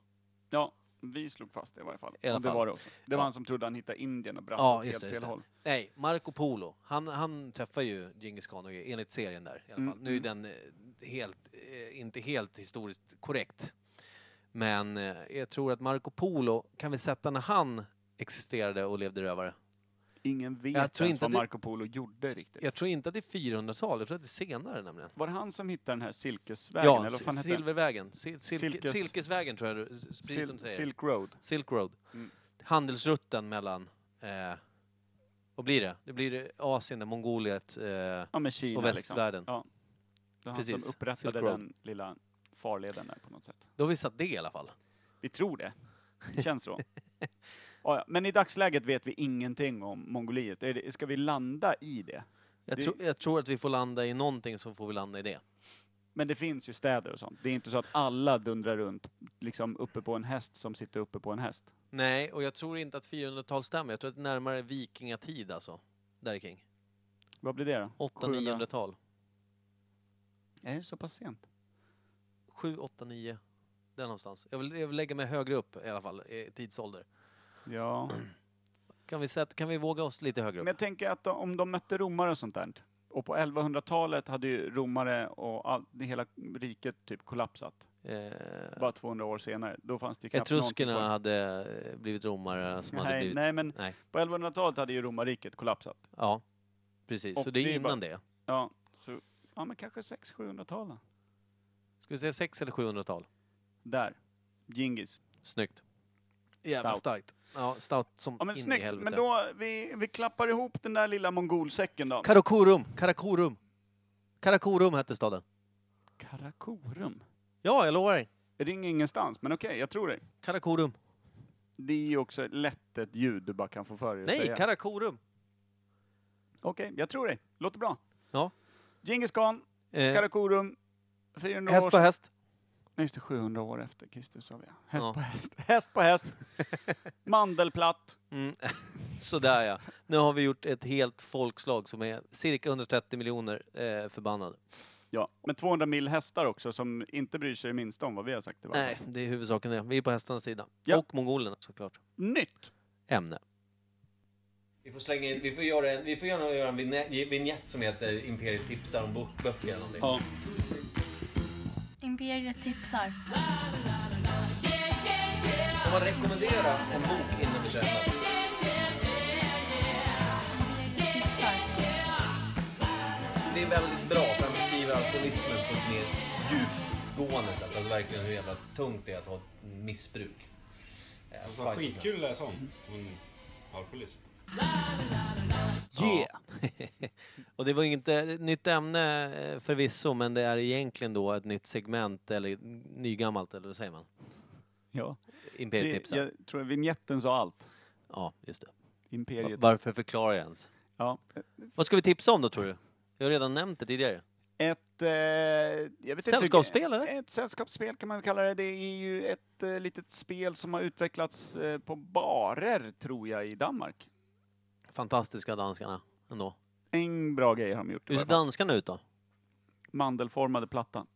Ja, vi slog fast det i varje fall.
I alla
Och det
fall.
var det också. Det var
Ja.
han som trodde han hittade Indien och brassade
Ja,
åt
just
helt
det, just
fel
det.
håll.
Nej, Marco Polo. Han, han träffar ju Djingis khan och grejer, enligt serien där i alla fall.
Mm,
Nu är den eh, helt, eh, inte helt historiskt korrekt. Men eh, jag tror att Marco Polo kan vi sätta när han existerade och levde rövare.
Ingen vet
Jag tror
ens
inte
vad
att det-
Marco Polo gjorde riktigt.
Jag tror inte att det är 400-tal, jag tror att det är senare nämligen.
Var det han som hittade den här silkesvägen?
Ja,
eller vad fan
si-
hette den?
Silvervägen. Sil silke
Silkes-
silkesvägen tror jag, du- s- precis
Sil-
som du säger.
Silk Road.
Silk Road.
Mm.
Handelsrutten mellan, eh, vad blir det? Det blir Asien, Mongoliet, eh,
Ja, men Kina
Och västvärlden.
Liksom. Ja. Det var han
Precis.
som
Silk
upprättade
Road.
den lilla farleden där på något sätt.
då har vi satt det i alla fall.
Vi tror det. Det
*laughs*
känns så. Ja, ja. Men i dagsläget vet vi ingenting om Mongoliet. Är det- Ska vi landa i det?
Jag,
Det-
tror- jag tror att vi får landa i någonting så får vi landa i det.
Men det finns ju städer och sånt. Det är inte så att alla dundrar runt liksom uppe på en häst som sitter uppe på en häst.
Nej, och jag tror inte att 400-tal stämmer. Jag tror att det är närmare vikingatid alltså. Där kring.
Vad blir det då? 700.
800-900-tal.
Är det så pass sent?
7, 8, 9. Där någonstans. Jag vill, jag vill lägga mig högre upp i alla fall, i tidsålder.
Ja.
Kan vi, sätta, kan vi våga oss lite högre
Men
upp?
jag tänker att de- om de mötte romare och sånt där. Och på 1100-talet hade ju romare och all, det hela riket typ kollapsat.
Eh,
Bara 200 år senare. Då fanns det ju knappt någonting
Etruskerna
kvar.
hade eh, blivit romare som hade
Nej,
blivit...
nej, men
Nej.
på 1100-talet hade ju romarriket kollapsat.
Ja, precis.
Och
Så det
det är
är
ju bara-
innan det.
Ja, så, ja men kanske 600-700-tal då.
Ska vi säga 6 eller 700-tal?
Där. Gingis.
Snyggt. Jävla
Stout.
starkt. Ja, stout som
Ja men
in i
snyggt,
helvete.
men då, vi, vi klappar ihop den där lilla mongolsäcken då.
Karakorum, Karakorum. Karakorum hette staden.
Karakorum?
Ja, jag lovar dig.
Ring ingenstans, men okej, jag tror dig.
Karakorum.
Det är ju också lätt ett ljud du bara kan få för dig att
Nej,
säga.
Karakorum.
Okej, jag tror dig. Låter bra.
Ja.
Djingis khan,
Eh,
Karakorum, 400
häst
år...
på häst.
Nej, just det, 700 år efter Kristus sa vi. ja. Häst
Ja.
på häst. Häst på häst. Mandelplatt.
Mm. *laughs* Sådär ja. Nu har vi gjort ett helt folkslag som är cirka 130 miljoner eh, förbannade.
Ja, men 200 mil hästar också som inte bryr sig det minsta om vad vi har sagt. i varje
Nej,
fall.
det är huvudsaken det. Vi är på hästarnas sida.
Ja.
Och mongolerna såklart.
Nytt!
Ämne. Vi får slänga in, vi får göra en, vi får gärna göra en vinä- vignett som heter Imperiet tipsar om bok- böcker eller någonting.
Ja.
Imperiet tipsar.
Får man rekommendera en bok innan vi köper? Det är väldigt bra för han beskriver alkoholismen på ett mer djupgående sätt. Alltså verkligen hur jävla tungt det är att ha ett missbruk. Eh,
Det var
fight- Mm.
skitkul att läsa om. Hon alkoholist.
Yeah! *laughs* och det var inte ett nytt ämne eh, förvisso, men det är egentligen då ett nytt segment, eller nygammalt, eller vad säger man?
ja.
Imperiet
Det,
tipsar.
jag tror vignetten sa allt.
Ja, just det. Va-
Imperiet.
Varför förklarar jag ens?
Ja.
Vad ska vi tipsa om då, tror du? Jag har redan nämnt det tidigare.
Ett... Eh, jag vet
Sällskapsspel,
inte,
eller?
Ett sällskapsspel kan man väl kalla det. Det är ju ett eh, litet spel som har utvecklats eh, på barer, tror jag, i Danmark.
Fantastiska danskarna, ändå.
En bra grej har de gjort. i
Hur
varje
ser
fall.
danskarna ut då? *laughs*
Mandelformade plattan.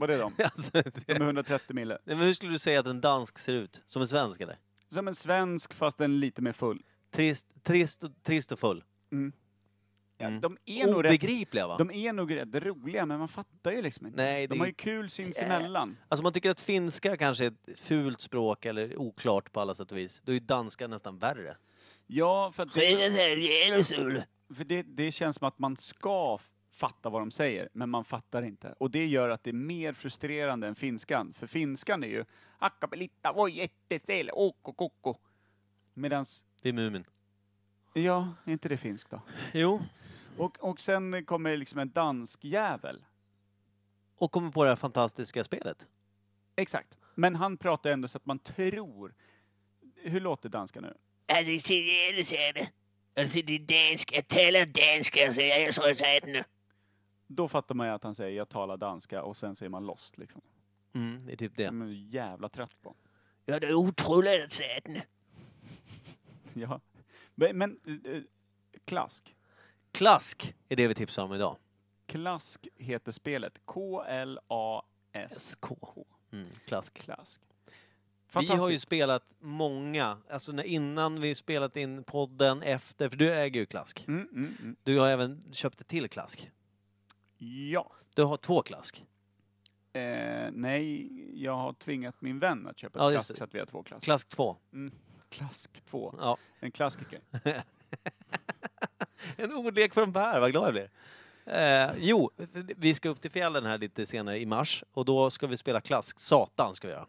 Var det de?
alltså, det...
De är 130 mille.
Nej, men hur skulle du säga att en dansk ser ut? Som en svensk eller?
Som en svensk fast en lite mer full.
Trist, trist, och, trist och full.
Ja,
Mm.
De är nog rätt
Obegripliga va?
de är nog rätt roliga, men man fattar ju liksom inte.
Nej,
de
det-
har ju kul sinsemellan.
Alltså man tycker att finska kanske är ett fult språk eller oklart på alla sätt och vis. Då är ju danska nästan värre.
Ja, för, att det,
Det
för det, det känns som att man ska f- fatta vad de säger, men man fattar inte. Och det gör att det är mer frustrerande än finskan. För finskan är ju akapelitta, voi jättesel, åko koko. Medans,
är Mumin.
ja, är inte det finskt då?
Jo.
Och, och sen kommer liksom en dansk jävel.
Och kommer på det här fantastiska spelet.
Exakt. Men han pratar ändå så att man tror... Hur låter danska nu?
Alltså det är dansk, jag talar danska så jag är så excited nu.
Då fattar man ju att han säger jag talar danska och sen så är man lost liksom.
Mm, det är typ
Det är
det.
man ju jävla trött på.
Jag är otroligt excited nu.
*laughs* Ja. Men, men eh, klask.
Klask är det vi tipsar om idag.
Klask heter spelet. K-L-A-S-K.
SK. Mm, klask.
Klask.
Vi
Fantastiskt.
har ju spelat många, alltså när, innan vi spelat in podden, efter, för du äger ju Klask.
Mm, mm, mm.
Du har även köpt ett till Klask.
Ja.
Du har två Klask.
Eh, nej, jag har tvingat min vän att köpa
Ja,
ett
just
klask
det.
så att vi har två klask.
Klask två.
klask 2.
Ja.
En klassiker.
En ordlek från Per, vad glad jag blir. Eh, jo, vi ska upp till fjällen här lite senare i mars och då ska vi spela Klask Satan. Ska vi göra.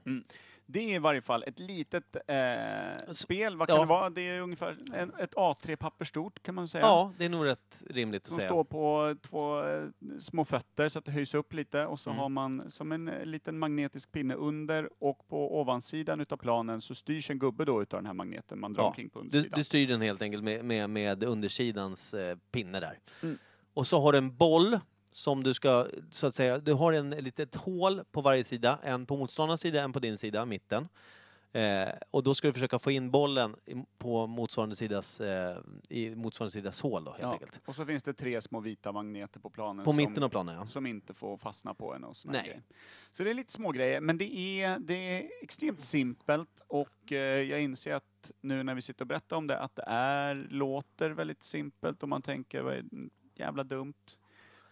Det är i varje fall ett litet eh, spel. Vad kan
ja.
det vara? Det är ungefär en, ett A3-papper stort kan man säga.
Ja, det är nog rätt rimligt att
Som
säga.
står på två eh, små fötter så att det höjs upp lite och så
Mm.
har man som en eh, liten magnetisk pinne under och på ovansidan utav planen så styrs en gubbe då utav den här magneten man drar
Ja.
omkring på
Du,
undersidan.
du styr den helt enkelt med, med, med undersidans eh, pinne där.
Mm.
Och så har du en boll som du ska, så att säga, du har en ett litet hål på varje sida, en på motståndarens sida, en på din sida, mitten. Eh, och då ska du försöka få in bollen i- på motsvarande sidas, eh, i motsvarande sidas hål då, helt
Ja.
enkelt.
Och så finns det tre små vita magneter på planen.
På
som-
mitten av planen, ja.
som inte får fastna på en och såna
Nej.
grejer. Så det är lite små grejer, men det är, det är extremt simpelt och eh, jag inser att nu när vi sitter och berättar om det att det är, låter väldigt simpelt och man tänker vad är jävla dumt.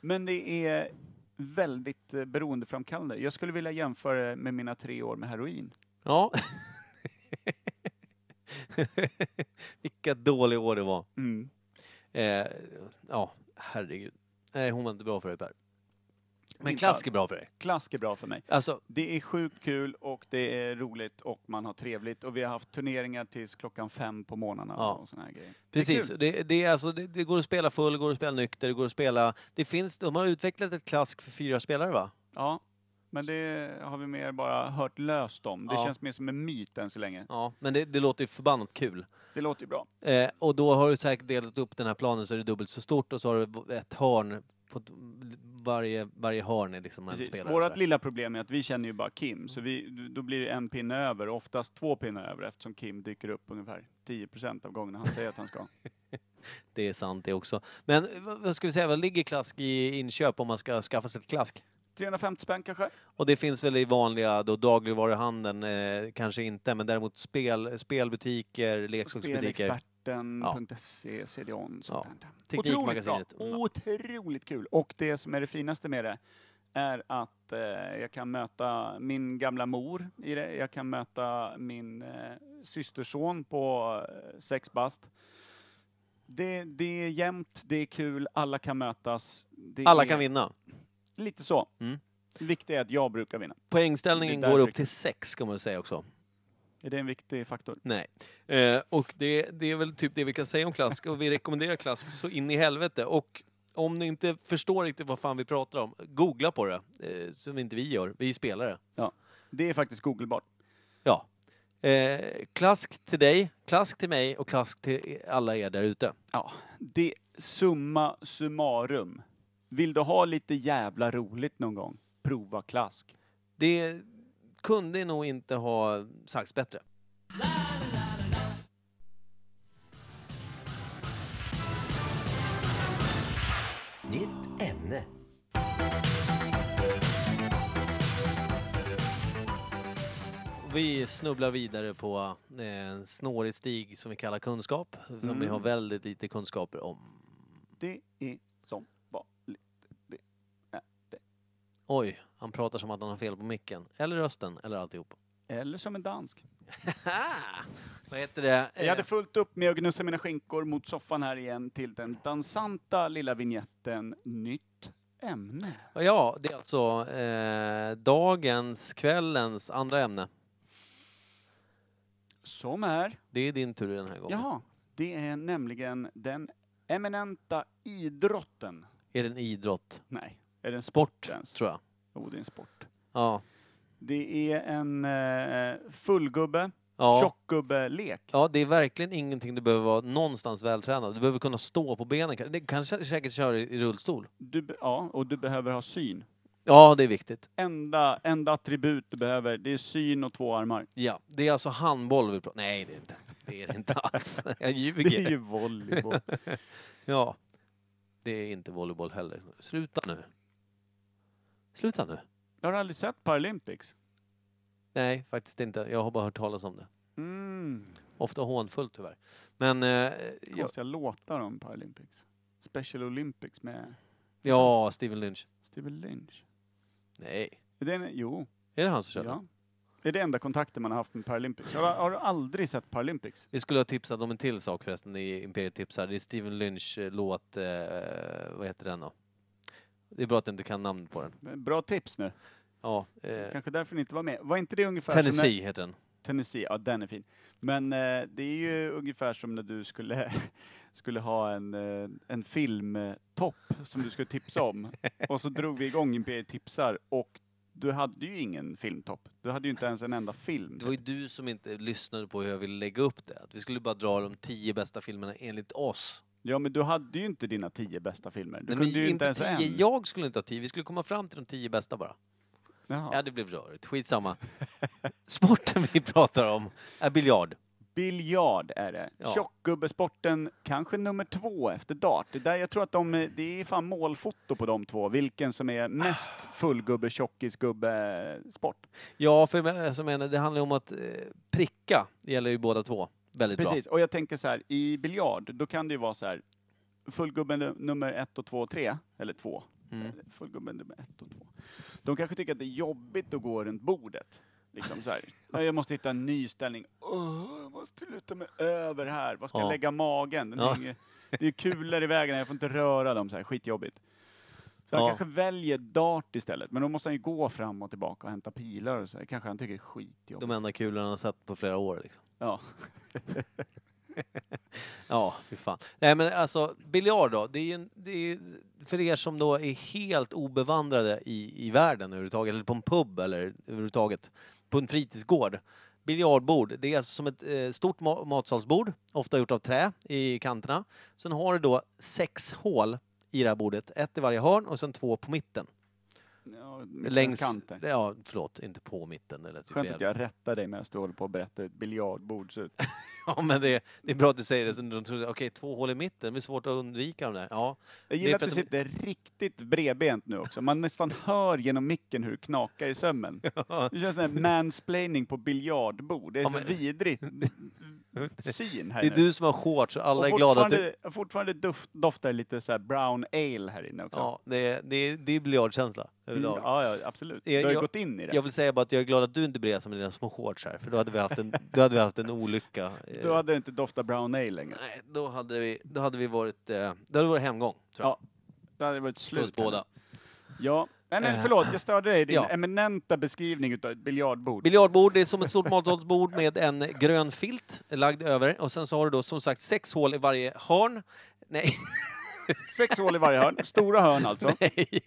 Men det är väldigt eh, beroendeframkallande. Jag skulle vilja jämföra det med mina tre år med heroin.
Ja. *laughs* Vilka dåliga år det var.
Mm.
Eh, ja, herregud. Nej, hon var inte bra för dig Per. Men
Min
klask
far-
är bra för dig.
Klask är bra för mig.
Alltså,
Det är sjukt kul och det är roligt och man har trevligt och vi har haft turneringar tills klockan fem på morgnarna
Ja.
och såna här grejer. Det är
Precis,
kul.
det, det, är alltså, det, det går att spela full, går att spela nykter, det går att spela... Det finns, de har utvecklat ett klask för fyra spelare va?
Ja, men det har vi mer bara hört löst om. Det
Ja.
känns mer som en myt än så länge.
Ja. Men det, det låter ju förbannat kul.
Det låter ju bra.
Eh, och då har du säkert delat upp den här planen så är det dubbelt så stort och så har du ett hörn på ett- varje, varje hörn är liksom en
Precis.
spelare.
Vårat
sådär.
lilla problem är att vi känner ju bara Kim, så vi, då blir det en pinne över, oftast två pinnar över eftersom Kim dyker upp ungefär 10% av gångerna han säger att han ska.
det är sant det också. Men eh, vad, vad ska vi säga, vad ligger klask i inköp om man ska skaffa sig ett klask?
350 spänn kanske?
Och det finns väl i vanliga då, dagligvaruhandeln, eh, kanske inte, men däremot spel, spelbutiker, leksaksbutiker.
Spelexperten.se, CDON, sånt
Ja.
där. Otroligt bra.
Teknikmagasinet. Mm.
Otroligt kul! Och det som är det finaste med det är att eh, jag kan möta min gamla mor i det. Jag kan möta min eh, systerson på eh, sex bast. Det, det är jämnt, det är kul, alla kan mötas. Det
Alla
är
kan vinna.
Lite så.
Mm.
Det viktiga är att jag brukar vinna.
Poängställningen
Det är
går
därför-
upp till sex ska man säga också.
Är det en viktig faktor?
Nej. Eh, och det, det är väl typ det vi kan säga om klask och vi rekommenderar klask så in i helvete. Och om ni inte förstår riktigt vad fan vi pratar om, googla på det. Eh, som inte vi gör, vi spelar det.
Det är faktiskt googlebart.
Ja. Eh, klask till dig, klask till mig och klask till alla er där ute.
Ja, det summa summarum. Vill du ha lite jävla roligt någon gång? Prova klask.
Det kunde nog inte ha sagts bättre.
Nytt ämne.
Vi snubblar vidare på eh, en snårig stig som vi kallar kunskap, som vi
Mm.
har väldigt lite kunskaper om.
Det är som vanligt.
Oj, han pratar som att han har fel på micken. Eller rösten, eller alltihop.
Eller som en dansk.
Ah! Vad heter det?
Jag hade fullt upp med att gnussa mina skinkor mot soffan här igen till den dansanta lilla vignetten Nytt ämne.
Eh, Ja, det är alltså eh, dagens, kvällens andra ämne.
Som är...
Det är din tur den här gången.
Jaha, det är nämligen den eminenta idrotten.
Är det en idrott?
Nej, är det en
Sport,
sport ens?
tror jag.
Jo, det är en sport.
Ja.
Det är en eh, fullgubbe,
Ja.
tjockgubbe-lek.
ja, det är verkligen ingenting du behöver vara någonstans vältränad. Du behöver kunna stå på benen. Du kan sä- säkert köra i i rullstol.
Du be- ja, och du behöver ha syn.
Ja, det är viktigt.
Enda, enda attribut du behöver, det är syn och två armar.
Ja, det är alltså handboll vi pratar Nej, det är det inte. Det är det inte alls. *laughs* Jag ljuger.
Det är ju volleyboll.
Ja. Det är inte volleyboll heller. Sluta nu. Sluta nu.
Jag *laughs* har aldrig sett Paralympics.
Nej, faktiskt inte. Jag har bara hört talas om det.
Mm.
Ofta hånfullt tyvärr. Men eh, ja,
Konstiga låtar om Paralympics. Special Olympics med
ja, Steven Lynch.
Steven Lynch.
Nej.
Är det en, jo,
Är det han som kör?
ja. Det är det enda kontakten man har haft med Paralympics. Har, har du aldrig sett Paralympics?
Vi skulle ha tipsat om en till sak förresten i Imperiet tipsar. Det är Steven Lynch eh, låt, eh, vad heter den då? Det är bra att jag inte kan namnet på den.
Bra tips nu.
Ja, eh,
Kanske därför ni inte var med. Var inte det ungefär som...
Tennessee heter den.
när- Tennessee, ja den är fin. Men eh, det är ju ungefär som när du skulle, *laughs* skulle ha en, eh, en filmtopp som du skulle tipsa om. och så drog vi igång Imperiet tipsar och du hade ju ingen filmtopp. Du hade ju inte ens en enda film.
Det var ju du som inte lyssnade på hur jag ville lägga upp det. Att vi skulle bara dra de tio bästa filmerna enligt oss.
Ja, men du hade ju inte dina tio bästa filmer. Du
Nej, men
kunde ju inte ens
tio,
en.
Jag skulle inte ha tio, vi skulle komma fram till de tio bästa bara.
Jaha.
Ja, det blev rörigt.
*laughs*
Skitsamma. Sporten vi pratar om är biljard.
Biljard är det.
Ja.
Tjockgubbesporten, kanske nummer två efter dart. Det, där jag tror att de, det är fan målfoto på de två, vilken som är mest fullgubbe, tjockisgubbe sport.
Ja, för jag som menar, det handlar ju om att eh, pricka. Det gäller ju båda två. Väldigt
Precis, och jag tänker så här, i biljard, då kan det ju vara så här, fullgubbe nu- nummer ett och två och tre, eller två.
bra. Mm.
Fullgubbe nummer ett och två. De kanske tycker att det är jobbigt att gå runt bordet. Liksom
*laughs*
så här. "Nej, Jag måste hitta en ny ställning. Åh, jag måste luta mig över här. Var ska
Ja.
jag lägga magen? Den
Ja.
hänger, det är kulor i vägen, jag får inte röra dem. Så här. Skitjobbigt. Så han
Ja.
kanske väljer dart istället, men då måste han ju gå fram och tillbaka och hämta pilar och så. här. kanske han tycker det är skitjobbigt.
De enda kulorna han har sett på flera år. Liksom.
Ja.
Ja, fy fan. Nej, men alltså biljard då. Det är, ju en- det är för er som då är helt obevandrade i, i världen överhuvudtaget, eller på en pub eller överhuvudtaget, på en fritidsgård. Biljardbord, det är alltså som ett eh, stort ma- matsalsbord, ofta gjort av trä i kanterna. Sen har du då sex hål i det här bordet, ett i varje hörn och sen två på mitten.
ja
Längs...
Längs kanter.
Ja, förlåt, inte på mitten. Det lät ju
Skönt
fel.
att jag rättar dig medan du håller på att berätta hur ett biljardbord ser ut.
*laughs* Ja, men det, det är bra att du säger det. Så de tror, okej, två hål i mitten, det blir svårt att undvika de där. Ja,
Jag
Det är
gillar att
för
du
att de-
sitter riktigt bredbent nu också. Man nästan hör genom micken hur det knakar i
*laughs*
sömmen. Det känns som en mansplaining på biljardbord. Det är
Ja,
så
men- *laughs*
vidrigt syn här
det är
nu.
du som har shorts och alla
Och
är glada att du...
fortfarande- Fortfarande duft, doftar lite så här brown ale här inne också.
Ja, det är, det är, det är biljardkänsla
Mm,
överlag.
ja, ja absolut.
Jag-
Du har ju
jag-
gått in i det.
Jag vill säga bara att jag är glad att du inte brer som med dina små shorts här, för då hade vi haft en, då hade vi haft en olycka. eh,
*laughs* Då hade det inte doftat brown ale längre.
Nej, då hade vi, då hade vi varit, eh, då hade det varit hemgång. Tror jag.
Ja, Då hade det varit
För oss
slut. här
båda.
nu. Ja. Nej, men
Eh.
förlåt, jag störde dig i din
Ja.
eminenta beskrivning utav ett biljardbord.
Biljardbord, det är som ett stort matsalsbord med en grön filt lagd över och sen så har du då som sagt sex hål i varje hörn. Nej, *laughs*
Sex hål i varje hörn. Stora hörn alltså.
nej.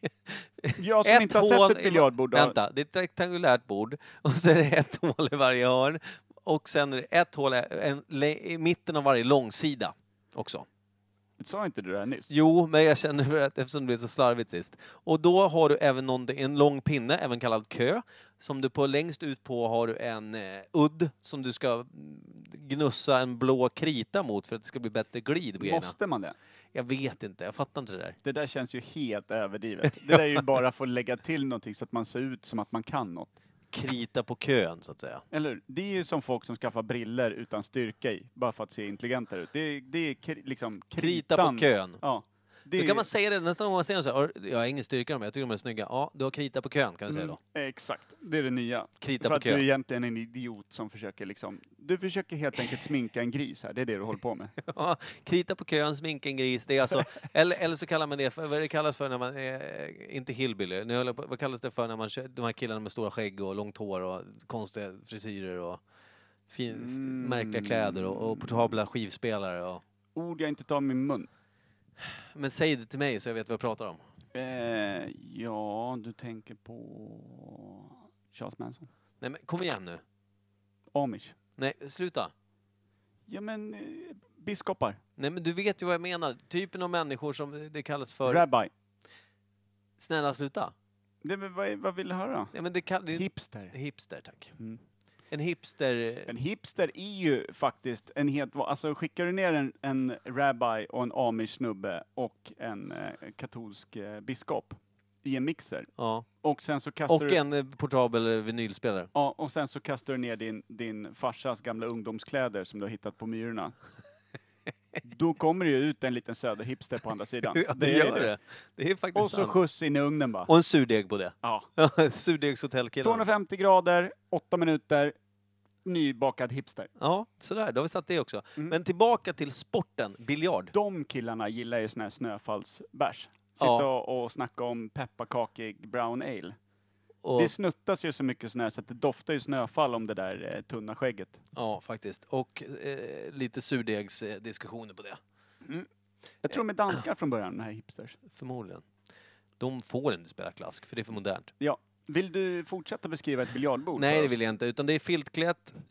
Jag som inte har
hål
sett ett
i-
biljardbord då.
Vänta, det är ett rektangulärt bord och så är det ett *laughs* hål i varje hörn och sen är det ett hål i- en, le- i mitten av varje långsida också.
Sa inte du det här nyss?
Jo, men jag känner för att eftersom det blev så slarvigt sist. Och då har du även någon, en lång pinne, även kallad kö, som du på längst ut på har du en eh, udd som du ska mm, gnussa en blå krita mot för att det ska bli bättre glid på grejerna.
Måste man det?
Jag vet inte, jag fattar inte det där.
Det där känns ju helt överdrivet. Det där är ju bara för
*laughs*
att lägga till någonting så att man ser ut som att man kan något.
Krita på kön, så att säga.
Eller hur? Det är ju som folk som skaffar briller utan styrka i, bara för att se intelligentare ut. Det är, det är kri, liksom kritan.
Krita på kön.
Ja. Det
Då
är-
kan man säga det nästa gång man ser dem så här, "Har- jag har ingen styrka i dem, jag tycker de är snygga. Ja, du har krita på kön kan vi säga då.
Mm, Exakt, det är det nya.
Krita
för
på
att du är
kön.
egentligen en idiot som försöker liksom... Du försöker helt enkelt sminka en gris här, det är det du håller
*laughs*
på med.
Ja, Mm. krita på kön, sminka en gris. Det är *laughs* alltså, eller, eller så kallar man det för, vad det kallas för när man, är eh, inte hillbilly, nu håller jag på, vad kallas det för när man kör, de här killarna med stora skägg och långt hår och konstiga frisyrer och fin,
Mm.
märkliga kläder och, och portabla skivspelare. Och,
Ord jag inte tar i min mun.
men säg det till mig så jag vet vad jag pratar om.
Eh, ja, du tänker på... Charles Manson.
Nej men kom igen nu.
Amish.
Nej, sluta.
Ja men, eh, biskopar.
Nej men du vet ju vad jag menar. Typen av människor som det kallas för...
Rabbi.
Snälla sluta.
Det, men vad, vad vill du höra?
Nej, men det kan, det,
Hipster.
Hipster, tack.
Mm.
En hipster...
En hipster är ju faktiskt en helt... va- Alltså skickar du ner en, en rabbi och en amish snubbe och en eh, katolsk eh, biskop i en mixer
Ja.
och sen så kastar
Och
du...
en eh, portabel vinylspelare.
Ja, och sen så kastar du ner din, din farsas gamla ungdomskläder som du har hittat på Myrorna. Då kommer det ju ut en liten söderhipster på andra sidan.
*laughs* Ja, det
är
gör det. Det är faktiskt
Och så
sant.
skjuts in i ugnen bara.
Och en surdeg på det. *laughs*
Ja.
Surdegshotellkillen.
250 grader, 8 minuter, nybakad hipster.
Ja, sådär. Då har vi satt det också.
Mm.
Men tillbaka till sporten, biljard.
De killarna gillar ju sån här snöfallsbärs. Sitta
Ja.
och, och snacka om pepparkakig brown ale.
Och,
Det snuttas ju så mycket sån här så att det doftar ju snöfall om det där eh, tunna skägget.
Ja, faktiskt. Och eh, lite surdegsdiskussioner på det.
Jag tror de är danskar från början, de här hipsters.
Förmodligen. De får inte spela klask, för det är för modernt.
Ja. Vill du fortsätta beskriva ett biljardbord
Nej,
för
det
*laughs* oss?
vill jag inte. Utan det är filtklätt. *laughs*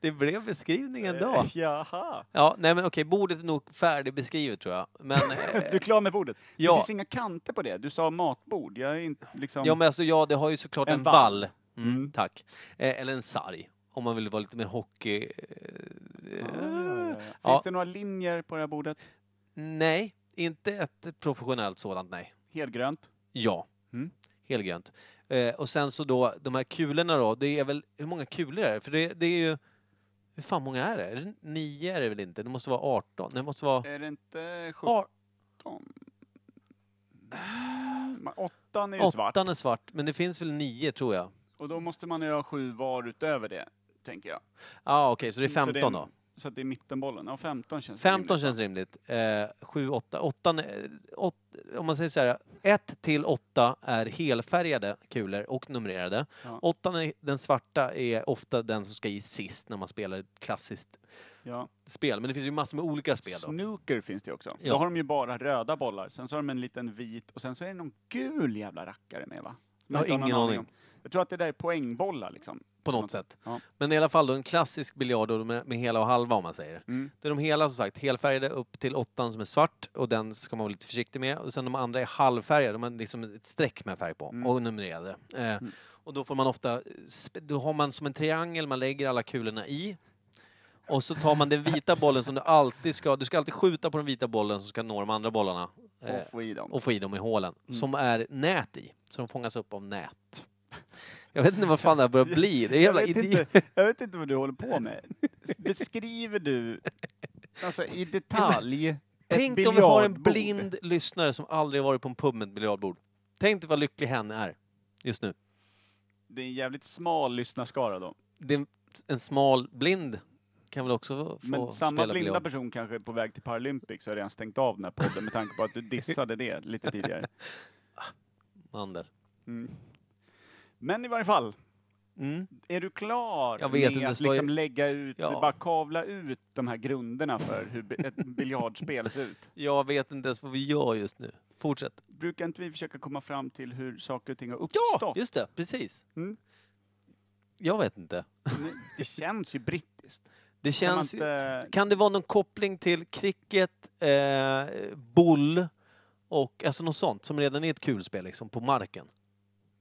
Det blev beskrivningen då.
Eh, Jaha.
Ja, nej men okej, bordet är nog färdigbeskrivet tror jag. Men,
*laughs*
eh,
Du är klar med bordet?
Ja.
Det finns inga kanter på det. Du sa matbord. Jag är inte liksom...
ja, men alltså, ja, det har ju såklart en,
En
vall.
vall.
Mm,
Mm.
Tack. Eh, eller en sarg. Om man vill vara lite mer hockey... eh,
Ah, ja, ja. Finns
Ja.
det några linjer på det här bordet?
Nej, inte ett professionellt sådant, nej.
Helgrönt?
Ja.
Mm.
Helgrönt. Eh, och sen så då, de här kulorna då, det är väl, hur många kulor är det? För det, det är ju, hur fan många är det? Är det? Nio är det väl inte? Det måste vara 18? Det måste vara...
Är det inte
Ar-
17? Men Åttan är ju svart.
åttan är svart, men det finns väl nio tror jag.
Och då måste man ju ha sju var utöver det, tänker jag.
Ja, ah, okej, så det är
Så
15
det är-
då.
Så att det är mittenbollen. Ja, 15 känns
15
rimligt, va?
känns rimligt. Eh, 7, 8. 8 eh, åt, om man säger så här, 1 till 8 är helfärgade kulor och numrerade.
Ja.
8, är, den svarta, är ofta den som ska i sist när man spelar ett klassiskt
Ja.
spel. Men det finns ju massor med olika spel då.
Snooker finns det ju också.
Ja.
Då har de ju bara röda bollar. Sen så har de en liten vit och sen så är det någon gul jävla rackare med va? Som
Jag har
inte någon
ingen aning.
om. Jag tror att det där är poängbollar liksom.
På något sätt.
Ja.
Men i alla fall då en klassisk biljard då med, med hela och halva om man säger.
Mm.
Det är de hela som sagt, helfärgade upp till åttan som är svart och den ska man vara lite försiktig med. Och sen de andra är halvfärgade, de har liksom ett streck med färg på
Mm.
och numrerade. Eh, Och då får man ofta, sp- då har man som en triangel man lägger alla kulorna i. Och så tar man den vita bollen som du alltid ska, du ska alltid skjuta på den vita bollen som ska nå de andra bollarna. Eh,
Och få i dem.
och få i dem i hålen,
Mm.
som är nät i. Så de fångas upp av nät. Jag vet inte vad fan det här börjar bli. Det är jävla
jag, vet
idi-
inte, jag vet inte vad du håller på med. Beskriver du, alltså
*laughs*
i detalj, ett
Tänk om vi har en
biljardbord?
blind lyssnare som aldrig varit på en pub med ett biljardbord. Tänk dig vad lycklig hen är just nu.
Det är en jävligt smal lyssnarskara då.
Det är en- en smal blind kan väl också få
Men samma
spela
blinda
biljard.
person kanske är på väg till Paralympics och har redan stängt av den här podden med tanke på att du dissade det lite tidigare.
Mandel.
Mm. Men i varje fall,
Mm.
är du klar
Jag vet
med
inte,
att
det var ju-
liksom lägga ut,
Ja.
bara kavla ut de här grunderna för hur bi-
*laughs*
ett biljardspel ser ut?
Jag vet inte ens vad vi gör just nu. Fortsätt.
Brukar inte vi försöka komma fram till hur saker och ting har uppstått?
Ja, just det. Precis.
Mm.
Jag vet inte.
Men Det känns ju brittiskt.
Det
Kan man
känns... ju-
inte...
Kan det vara någon koppling till cricket, eh, boll och alltså något sånt som redan är ett kulspel liksom, på marken?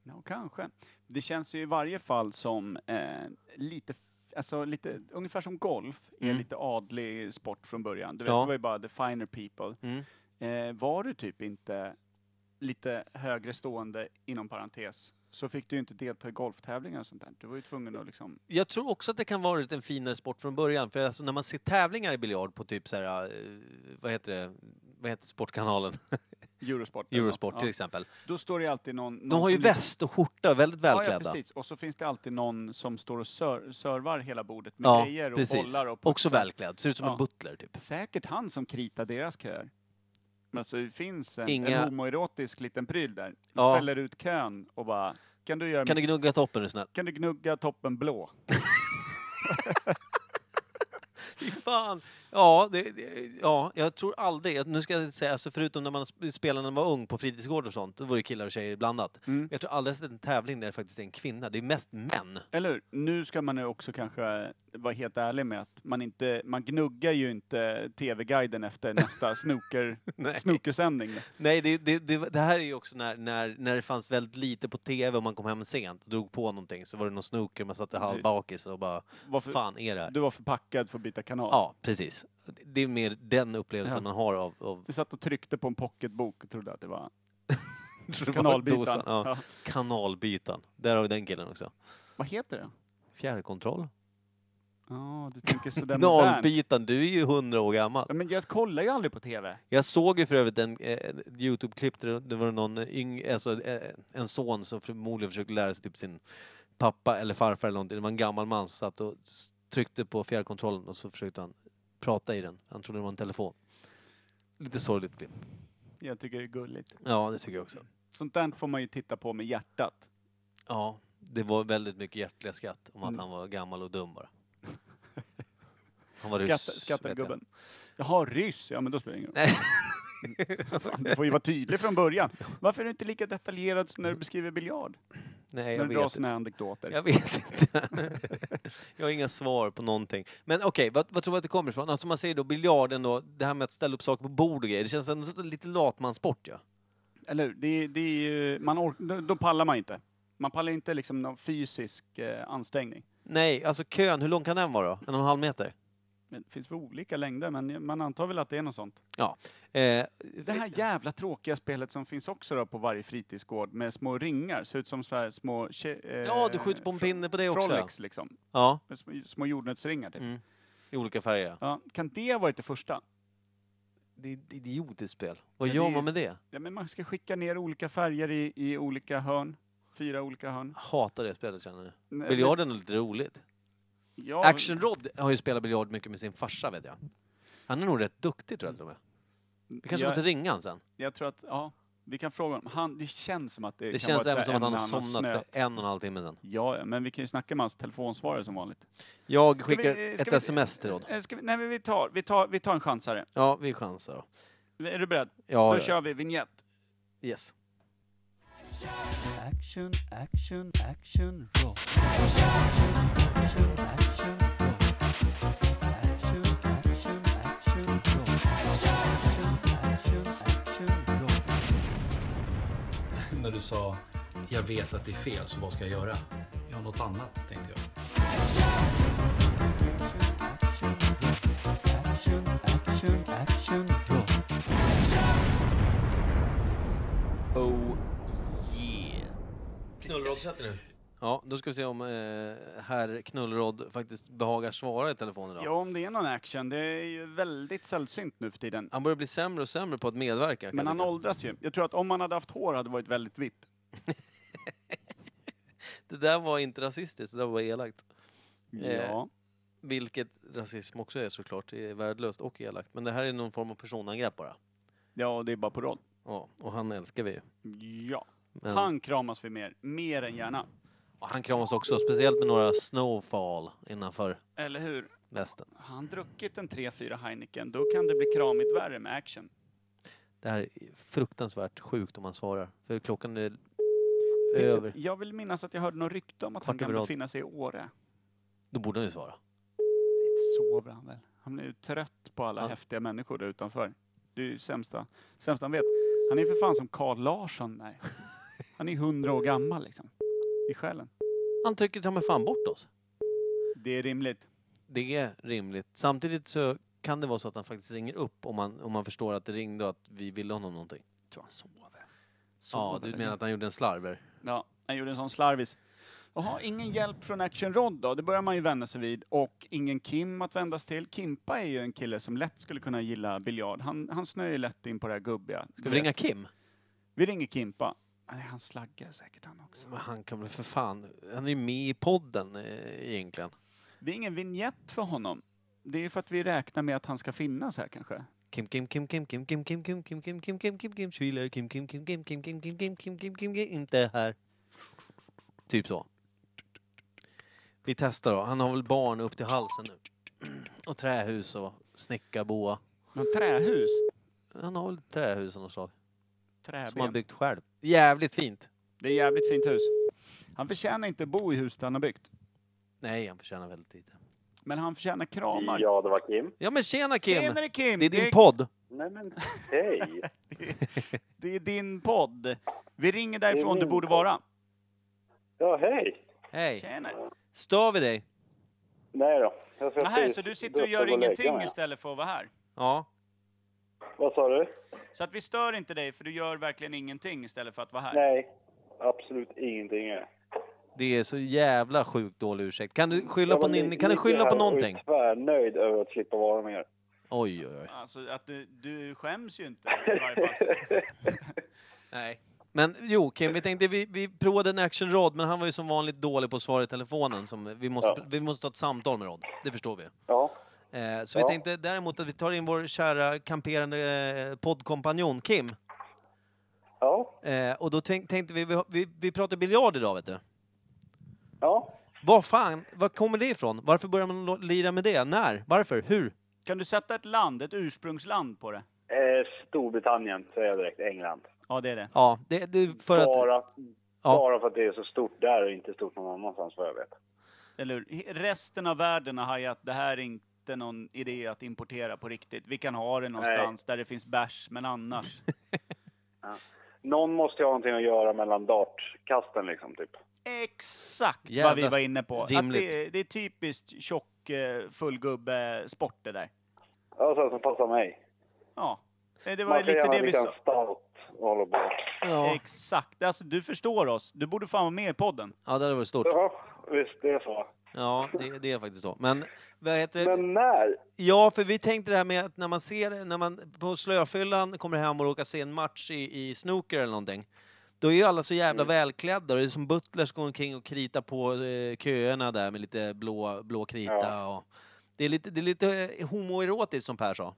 Ja, kanske. Det känns ju i varje fall som eh, lite, alltså lite, ungefär som golf, är
Mm.
lite adlig sport från början. Du vet,
Ja.
det var ju bara the finer people.
Mm.
Eh, var du typ inte lite högre stående, inom parentes, så fick du ju inte delta i golftävlingar och sånt där. Du var ju tvungen att liksom...
Jag tror också att det kan vara en finare sport från början. För alltså när man ser tävlingar i biljard på typ så här, eh, vad heter det, vad heter sportkanalen? *laughs*
Eurosport. eller något.
Eurosport till
Ja.
exempel.
Då står det ju alltid någon... någon
De har ju
som ligger-
väst och skjorta, väldigt
Ja, ja,
välklädda.
precis. Och så finns det alltid någon som står och ser- servar hela bordet med
Ja,
grejer och
precis.
bollar och
Också
putsar.
välklädd, ser ut som
Ja.
en butler typ.
Säkert han som kritar deras köer. Men alltså det finns en,
Inga-
en homoerotisk liten pryl där.
Ja.
Fäller ut kön och bara, kan du göra
Kan du gnugga toppen är du snäll?
kan du gnugga toppen blå?
Fy fan! Ja, det, det, ja, jag tror aldrig, nu ska jag säga, alltså förutom när man sp- spelade när man var ung på fritidsgård och sånt, då var det killar och tjejer blandat.
Mm.
Jag tror aldrig jag sett en tävling där det faktiskt är en kvinna, det är mest män.
Eller hur? Nu ska man ju också kanske vara helt ärlig med att man inte, man gnuggar ju inte TV-guiden
*laughs*
efter nästa snooker,
Nej.
snookersändning.
Nej, det, det, det, det här är ju också när, när, när det fanns väldigt lite på tv och man kom hem sent och drog på någonting så var det någon snooker, man satt halvbakis och bara, vad
Varför-
fan är det här?
Du var förpackad för att byta kanal.
Ja, precis. Det är mer den upplevelsen
Ja.
man har av,
*laughs*
av
Du satt och tryckte på en pocketbok och trodde att det var
dosan.
kanalbytaren.
Ja.
Ja.
Kanalbytan. Där har vi den killen också.
Vad heter det?
Fjärrkontroll.
Ja, du
*laughs*
tänker sådär modernt.
Nollbitan, du är ju hundra år gammal.
Ja, men jag kollar ju aldrig på TV.
Jag såg ju för övrigt en eh, Youtube-klipp där det var någon yng, alltså, eh, en son som förmodligen försökte lära sig typ sin pappa eller farfar eller någonting. Det var en gammal man som satt och s- tryckte på fjärrkontrollen och så försökte han prata i den. Han trodde det var en telefon. Lite sorgligt klipp.
Jag tycker det är gulligt.
Ja, det tycker jag också.
Sånt där får man ju titta på med hjärtat.
Ja, det var väldigt mycket hjärtliga skratt om att han var gammal och dum *laughs* bara. Han var
Skratta,
ryss.
skratta
vet jag.
gubben. Jaha, ryss. Ja, men då spelar det ingen roll.
Nej.
Fan, Du får ju vara tydlig från början. Varför är du inte lika detaljerad som när du beskriver biljard?
*laughs* Nej, jag
Men bra
vet
såna här anekdoter.
Jag vet inte. jag har inga svar på någonting. Men okej, vad, vad tror du att det kommer ifrån? Alltså man säger då biljarden då, det här med att ställa upp saker på bord och grejer. Det känns ändå som lite latmansport ja.
Eller hur? Det, det är ju, man ork, då, då pallar man ju inte. Man pallar inte liksom någon fysisk eh, ansträngning.
Nej, alltså kön, hur lång kan den vara då? En och en halv meter?
Men det finns väl olika längder, men man antar väl att det är något sånt.
Ja. Eh,
Det här jävla tråkiga spelet som finns också då på varje fritidsgård med små ringar, ser ut som så här små... ke- Eh,
ja, du skjuter på en
fro-
pinne på det också. ja.
Frolics liksom.
Ja,
Med Små, små jordnötsringar typ.
Mm. i olika färger.
Ja, kan det ha varit det första?
Det är ett idiotiskt spel. Vad
Men
gör
det är-
man med det?
Ja, men man ska skicka ner olika färger i, i olika hörn. Fyra olika hörn.
Hatar det spelet känner jag.
Nej,
Biljarden är lite roligt.
Eh, ja,
Action Rod har ju spelat biljard mycket med sin farsa vet jag. Han är nog rätt duktig tror jag till och med. Vi kanske
jag,
måste ringa han sen.
jag tror att, ja, vi kan fråga honom. Han, det känns som att det,
Det,
kan
känns
vara ett
även
så
som
här
att han har somnat
ämne
för
snöat.
en och en halv timme sedan.
Ja, ja, men vi kan ju snacka med hans telefonsvarare som vanligt.
Jag
Ska vi-
skickar
eh, ska
ett
vi-
sms till Rod.
eh, ska vi, nej, men vi tar, vi, tar, vi tar en chansare.
Ja, vi chansar då.
Är du beredd? Då
Ja, ja.
kör vi vignett.
Yes.
Action, action, action, roll. Action, action, roll. Action, action, action, roll. Action, action, action, roll.
När du sa jag vet att det är fel, så vad ska jag göra? Jag har något annat, tänkte jag.
Action, action, action, action, roll.
Oh yeah.
Knullrad sätter nu.
Ja, då ska vi se om eh, herr Knullrod faktiskt behagar svara i telefon idag.
Ja, om det är någon action. Det är ju väldigt sällsynt nu för tiden.
Han börjar bli sämre och sämre på att medverka. kan
Men
jag
han
tycka.
åldras ju. Jag tror att om han hade haft hår hade det varit väldigt vitt.
Det där var inte rasistiskt, det där var elakt. Eh.
Ja.
Vilket rasism också är såklart, det är värdelöst och elakt. Men det här är någon form av personangrepp bara.
Ja, det är bara på rad.
Ja, och han älskar vi ju.
Ja.
Men,
Han kramas vi mer. Mer än gärna.
och han kramas också, speciellt med några snowfall innanför
Eller hur?
västen.
Har han druckit en 3-4 Heineken, då kan det bli kramigt värre med action.
Det här är fruktansvärt sjukt om man svarar. För klockan är
Finns
över.
ett- Jag vill minnas att jag hörde något rykte om att han
Kvart
kan
över åt-
befinna sig i Åre.
Då borde han ju svara.
Inte sover han väl? Han är ju trött på alla
Ja.
häftiga människor där utanför. Det är ju sämsta, sämsta han vet. Han är för fan som Carl Larsson. *laughs* Nej. Han är hundra år gammal liksom. I själen.
Han trycker ta mig fan bort oss.
Det är rimligt.
Det är rimligt. Samtidigt så kan det vara så att han faktiskt ringer upp om man, om man förstår att det ringde och att vi ville honom någonting.
Tror han sover.
Ja, du menar att han gjorde en slarver?
Ja, han gjorde en sån slarvis. Jaha, ingen hjälp från Action Rod då? Det börjar man ju vända sig vid. Och ingen Kim att vändas till. Kimpa är ju en kille som lätt skulle kunna gilla biljard. Han, han snöar ju lätt in på det här gubbiga.
Ska vi ringa Kim?
Vi ringer Kimpa. Nej, han slaggar säkert han också.
Men han kan väl för fan... Han är ju med i podden eh, egentligen.
Det är ingen vignett för honom. Det är för att vi räknar med att han ska finnas här kanske.
Kim Kim Kim Kim Kim Kim Kim Kim Kim Kim Kim Kim Kim Kim Schuyler Kim Kim Kim Kim Kim Kim Kim Kim Kim Kim Kim Kim inte här. Typ så. Vi testar då. Han har väl barn upp till halsen nu. Och trähus och snickarboa.
Men trähus?
Han har väl trähus av något slag. Som han
Träben.
byggt själv. Jävligt fint.
Det är jävligt fint hus. Han förtjänar inte bo i huset han har byggt.
Nej, han förtjänar väldigt lite.
Men han förtjänar kramar.
Ja, det var Kim.
Ja men tjena Kim!
Tjenare Kim!
Det är din podd.
Nej men hej!
det är din podd. Vi ringer därifrån
min
du borde
podd.
vara.
Ja, hej!
Hej.
Tjena.
Stör vi dig?
Nej då. Jag ska
Nähä,
precis
så du sitter
duscha
och gör
gå lägga
ingenting
mig.
istället för att vara här?
Ja.
Vad sa du?
Så att vi stör inte dig för du gör verkligen ingenting istället för att vara här?
Nej, absolut ingenting. Jag
Det är så jävla sjukt dålig ursäkt. Kan du skylla på
var
Ninni?
li-
Kan du
ligger
skylla på
här och är
någonting?
tvärnöjd över att slippa vara med er.
Oj oj oj.
Alltså att du, du skäms ju inte i varje
*laughs*
fall.
Nej. Men jo, Kim, vi tänkte vi, vi provade en actionrad, men han var ju som vanligt dålig på att svara i telefonen. Som vi, måste,
Ja.
vi måste ta ett samtal med Rod, det förstår vi.
Ja,
Eh, så vi
Ja.
tänkte däremot att vi tar in vår kära kamperande eh, poddkompanjon Kim.
ja,
Eh, och då tänk, tänkte vi, vi, vi, vi pratar biljard idag vet du.
ja.
Vad fan, var kommer det ifrån? Varför börjar man lo- lira med det? När? Varför? Hur?
Kan du sätta ett land, ett ursprungsland på det?
Eh, Storbritannien säger jag direkt. England.
Ja, det är det.
Ja, det, det är för att...
Bara, Bara för att det är så stort där och inte stort någon annanstans vad jag vet.
Eller hur? Resten av världen har hajat, det här är inte någon idé att importera på riktigt. Vi kan ha det någonstans där det finns bärs, men
*laughs*
annars.
Ja. Någon måste ju ha någonting att göra mellan dartkasten liksom typ.
Exakt
Jävla
vad vi var inne på. Att
rimligt.
det, är- det är typiskt tjock eh, fullgubbe-sport det där.
Ja, så som passar mig.
Ja. Eh, Det
Man
var ju
kan liksom.
lite
gärna
det vi
dricka en
sa.
stout och hålla på.
Exakt. Alltså, du förstår oss. Du borde fan vara med i podden.
Ja, det hade varit stort.
Ja, visst det är så.
Ja, det, det är faktiskt så. Men vad heter det?
Men när?
Ja, för vi tänkte det här med att när man ser, när man på slöfyllan kommer hem och råkar se en match i, i snooker eller någonting. Då är ju alla så jävla
Mm.
välklädda och det är som butlers går omkring och kritar på eh, köerna där med lite blå, blå krita och... Det är lite, det är lite eh, homoerotiskt som Per sa.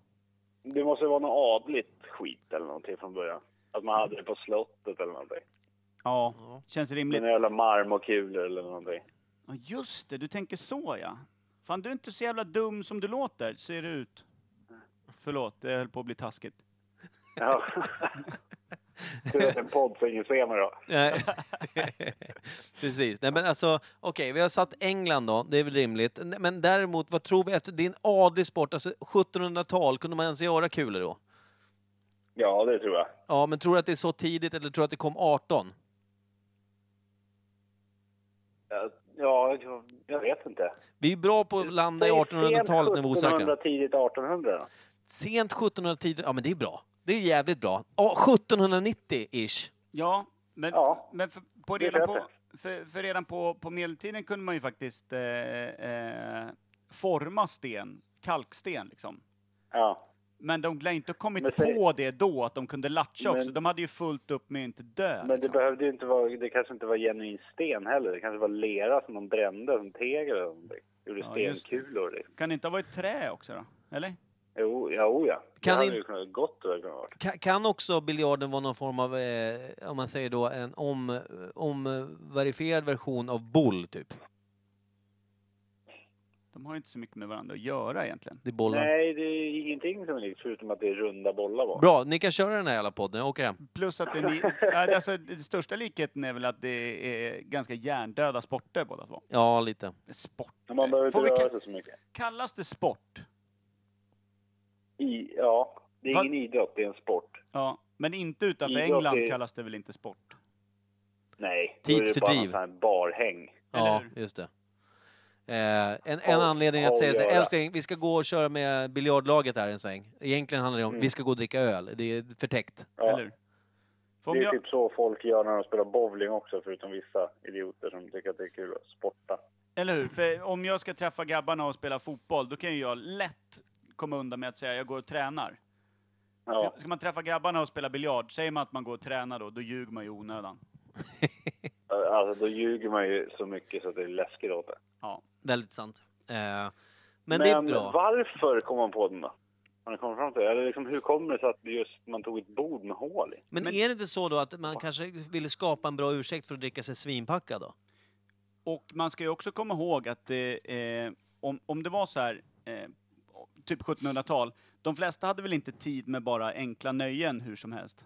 Det måste ju vara något adligt skit eller någonting från början. Att man hade det på slottet eller någonting.
Ja, känns rimligt.
Med några jävla marmorkulor eller någonting.
Ja, just det. Du tänker så, ja. Fan, du är inte så jävla dum som du låter, ser det ut. Förlåt, jag höll på att bli taskigt. *laughs*
Ja. Tur att en podd så ingen ser mig då.
Nej. *laughs* Precis. Nej, men alltså, okej, vi har satt England då, det är väl rimligt. Nej, Men däremot, vad tror vi? Efter, det är en adlig sport, alltså 1700-tal, kunde man ens göra kulor då?
Ja, det tror jag.
Ja, men tror du att det är så tidigt eller tror du att det kom 18?
Ja, Ja, jag- jag vet inte.
Vi är bra på att landa i
Säg
1800-talet när vi är
sent 1700,
osäkra.
tidigt 1800.
Sent 1700-talet, ja men det är bra. Det är jävligt bra. Ja, 1790-ish.
Ja, men, men för, på
det
redan,
köper
på, för, för redan på, på medeltiden kunde man ju faktiskt eh, eh, forma sten, kalksten liksom. Men de lär inte ha kommit på det då, att de kunde latcha också.
Men-
De hade ju fullt upp med att inte dö. liksom.
Men det behövde ju inte vara, det kanske inte var genuin sten heller. Det kanske var lera som de brände, som tegel eller någonting. Gjorde
Ja, just det.
stenkulor. Liksom.
Kan det inte ha varit trä också då? Eller?
Jo, ja, o, ja.
Kan
det hade
in-
ju kunnat gott att ha varit.
Ka- Kan också biljarden vara någon form av, eh, om man säger då, en om, omverifierad version av boll, typ?
De har ju inte så mycket med varandra att göra egentligen.
Det är bollar.
Nej, det är ingenting som är likt förutom att det är runda bollar bara.
Bra, ni kan köra den här jävla podden, jag åker hem.
Plus att det, är ni, Ja, alltså, den största likheten är väl att det är ganska hjärndöda sporter båda två.
Ja, lite.
Sport.
Man behöver
Får vi
inte röra
ka-
sig så mycket.
Kallas det sport?
I, ja, det är
Va-
ingen idrott, det är en sport.
Ja, men inte utanför
Idrott
England
är-
kallas det väl inte sport?
Nej, då är
Tidsfördriv.
det bara någon sån här barhäng.
Ja, just det. Eh, en, en
Håll-
anledning att
håll
säga så här,
göra.
älskling, vi ska gå och köra med biljardlaget här en sväng. Egentligen handlar det om,
Mm.
vi ska gå och dricka öl. Det är förtäckt.
Ja.
Får
det är
jag-
typ så folk gör när de spelar bowling också, förutom vissa idioter som tycker att det är kul att sporta.
Eller hur? För om jag ska träffa grabbarna och spela fotboll, då kan ju jag lätt komma undan med att säga jag går och tränar.
Ja.
Ska- Ska man träffa grabbarna och spela biljard, säger man att man går och tränar då, då ljuger man ju i onödan.
Alltså, då ljuger man ju så mycket så att det är läskigt åt det.
Ja.
Väldigt sant. Eh, men, det är bra.
varför kom man på den då? Har ni kommit fram till det? Eller liksom, hur kommer det sig att just man tog ett bord med hål i?
Men, är det inte så då att man kanske ville skapa en bra ursäkt för att dricka sig svinpackad då?
Och man ska ju också komma ihåg att eh, eh, om, om det var så här, eh, typ 1700-tal, de flesta hade väl inte tid med bara enkla nöjen hur som helst.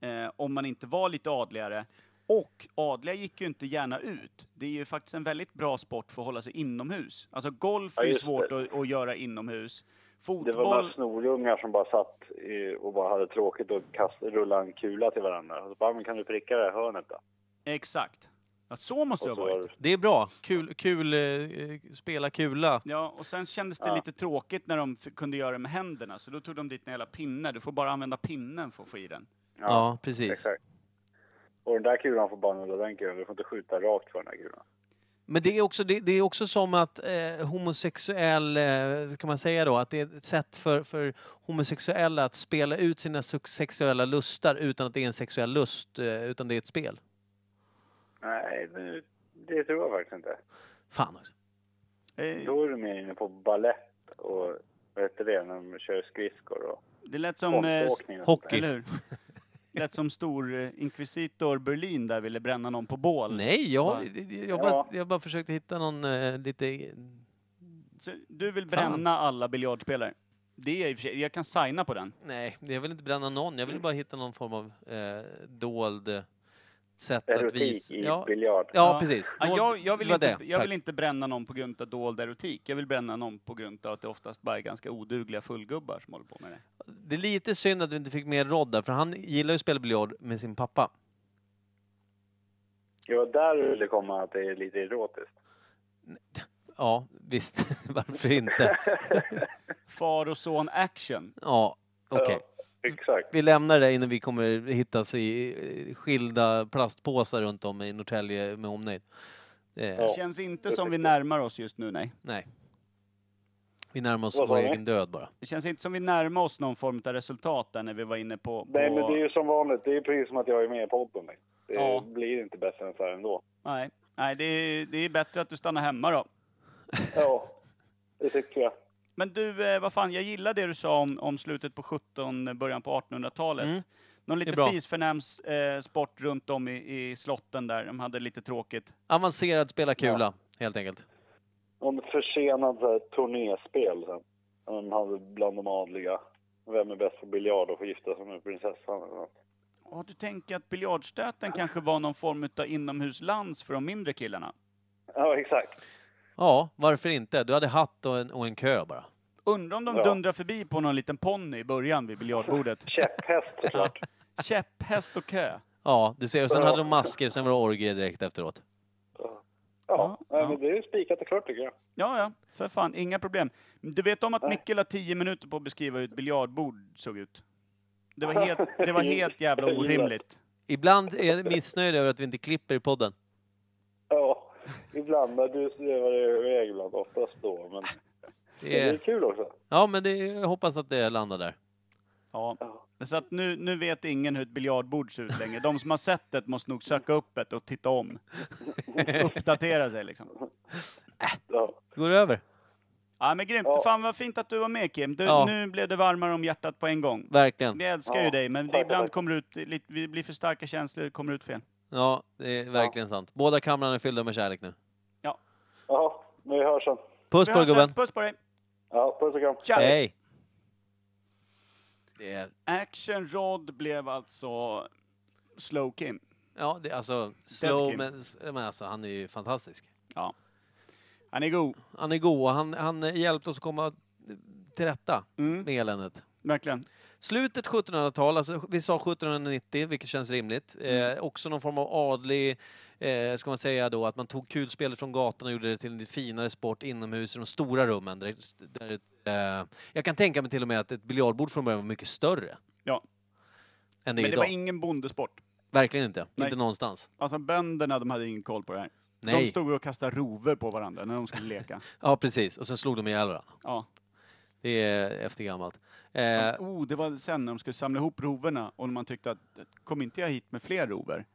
Eh, om man inte var lite adligare. Och adliga gick ju inte gärna ut. Det är ju faktiskt en väldigt bra sport för att hålla sig inomhus. Alltså golf
Ja,
är ju
just
svårt
det.
att, att göra inomhus.
Det var bara
Fotboll,
snorungar som bara satt eh, och bara hade tråkigt och kast, rullade en kula till varandra. Och så bara, men kan du pricka det här hörnet då?
exakt. Ja, så måste det ha varit.
Det är bra. Kul, kul eh, spela kula.
Ja, och sen kändes det
Ja.
lite tråkigt när de f- kunde göra det med händerna, så då tog de dit en jävla pinne. Du får bara använda pinnen för att få i den.
Ja, precis.
Exakt. Och den där kulan får bara nulla den kulan. Du får inte skjuta rakt för den här kulan.
Men det är också, det, det är också som att eh, homosexuell, eh, kan man säga då, att det är ett sätt för, för homosexuella att spela ut sina sex- sexuella lustar utan att det är en sexuell lust, eh, utan det är ett spel.
Nej, det, det tror jag faktiskt inte.
Fan också. Eh,
Då är du mer inne på ballett och vad heter det, när de kör skridskor och...
Det lät som... eh, s-
Konståkning och sånt
*laughs*
där.
Eller hur? lät som stor eh, inkvisitor Berlin där ville bränna någon på bål.
Nej, jag,
Va?
jag, jag, bara, jag bara försökte hitta någon eh, lite...
Så du vill bränna alla biljardspelare? Det är i och för sig, jag kan signa på den.
Nej, jag vill inte bränna någon. Jag vill bara hitta någon form av eh, dold, sätt att
Erotik
visa...
i biljard.
Ja, precis.
Ja,
Dold-
Ah, jag, jag, vill
det var
inte,
det.
jag vill
Tack.
inte bränna någon på grund av dold erotik. Jag vill bränna någon på grund av att det oftast bara är ganska odugliga fullgubbar som håller på med det.
Det är lite synd att vi inte fick med Rod där, för han gillar ju att spela biljard med sin pappa.
Det var där du ville komma, att det är lite erotiskt.
Ja, visst. *laughs* Varför inte?
Far och son action.
Ja,
*laughs*
okej.
Exakt.
Vi lämnar det innan vi kommer hittas i eh, skilda plastpåsar runt om i Norrtälje med omnejd. Eh,
Det känns inte som vi närmar oss just nu, nej.
Nej. Vi närmar oss
Vad sa
vår
ni?
egen död bara.
Det känns inte som vi närmar oss någon form av resultat där när vi var inne på... på...
Nej, men det är ju som vanligt. Det är precis som att jag är med i podden. liksom. Det
Ja.
blir inte bättre än så här ändå.
Nej, nej det, är, det är bättre att du stannar hemma då.
Ja, det tycker jag.
Men du, eh, vad fan, jag gillar det du sa om, om slutet på 17, eh, början på 1800-talet. Någon
Mm. Det är
lite
bra.
fisförnäms eh, sport runt om i, i slotten där, de hade lite tråkigt.
Avancerad spela kula, helt enkelt.
Om ett försenat så här, turnéspel sen. Han hade bland de adliga. Vem är bäst på biljard och får gifta sig med prinsessan eller något.
Ja, du tänker att biljardstöten kanske var någon form av inomhuslans för de mindre killarna?
Ja, exakt.
Ja, varför inte? Du hade hatt och en, och en kö bara.
Undrar om de
Ja.
dundrar förbi på någon liten ponny i början
*laughs*
vid biljardbordet.
Käpphäst såklart.
Käpphäst och kö.
Ja, du ser. Och sen
Ja.
hade de masker, sen var det orgie direkt efteråt.
Ja, nej, men det är ju spikat och klart tycker jag.
Ja, ja, för fan, inga problem. Du vet om att Micke la 10 minuter på att beskriva hur ett biljardbord såg ut? Det var helt, det var helt jävla orimligt.
Ibland är jag missnöjd över att vi inte klipper i podden.
Ja, ibland. Men du svävar iväg ibland. Oftast då. Men det
Mm.
är kul också.
Ja, men det, jag hoppas att det landar där. *laughs*
Ja. Så att nu, nu vet ingen hur ett biljardbord ser ut längre. De som har sett det måste nog söka upp det och titta om. Uppdatera sig liksom.
Går det över?
Ja men grymt. Fan vad fint att du var med Kim. Du,
Ja.
Nu blev det varmare om hjärtat på en gång.
Verkligen.
Vi älskar ju
Ja.
dig men det ibland kommer ut, lite- vi blir för starka känslor, kommer ut fel.
Ja, det är verkligen sant. Båda kamrarna är fyllda med kärlek nu.
Ja, men vi hörs sen.
Puss på dig, gubben!
Puss på dig!
Ja, puss och kram.
Hej! Det är...
Action Rod blev alltså Slow Kim.
Ja, det, är alltså slow,
Kim.
men, men alltså han är ju fantastisk.
Ja. Han är god.
Han är god och han, han hjälpte oss att komma till rätta med eländet.
Mm, Verkligen.
Slutet 1700-tal, alltså vi sa 1790, vilket känns rimligt.
Mm.
Eh, också någon form av adlig, eh, ska man säga då, att man tog kulspelet från gatan och gjorde det till en lite finare sport inomhus i de stora rummen. Där, där, eh, jag kan tänka mig till och med att ett biljardbord från början var mycket större
Ja.
än det är
Men det
idag.
var ingen bondesport.
Verkligen inte.
Nej.
Inte någonstans.
Alltså bönderna, de hade ingen koll på det här.
Nej. Eh.
De stod och kastade rover på varandra när de skulle
*laughs*
leka.
Ja, precis. Och sen slog de ihjäl varandra.
Ja.
Det är eftergammalt. Eh,
Oh, det var sen när de skulle samla ihop roverna och när man tyckte att kom inte jag hit med fler rover?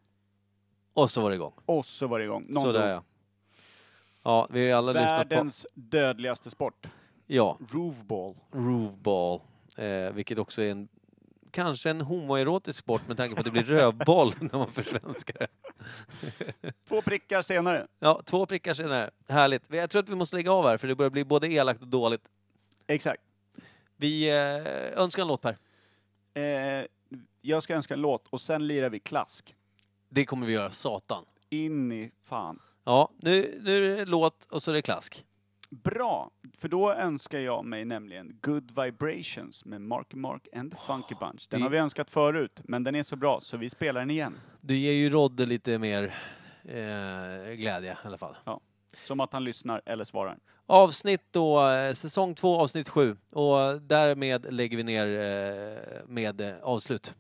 och så var det igång.
Och så var det igång. Någon
Sådär
dog.
ja. Ja, vi har ju alla lyssnat på...
Världens dödligaste sport.
Ja.
Roofball.
Roofball. Eh, vilket också är en, kanske en homoerotisk sport med tanke på att det blir rövboll *laughs* när man försvenskar det.
Två prickar senare.
Ja, två prickar senare. Härligt. Jag tror att vi måste lägga av här för det börjar bli både elakt och dåligt.
Exakt.
Vi eh, önskar en låt Per.
Eh, jag ska önska en låt och sen lirar vi klask.
Det kommer vi göra, satan.
In i fan.
Ja, nu, nu är det låt och så är det klask.
Bra, för då önskar jag mig nämligen Good Vibrations med Marky Mark and the Funky Bunch. Den
det-
har vi önskat förut, men den är så bra så vi spelar den igen.
Du ger ju Rodde lite mer eh, glädje i alla fall.
Ja. Som att han lyssnar eller svarar.
Avsnitt då, eh, säsong två avsnitt sju. Och därmed lägger vi ner eh, med eh, avslut.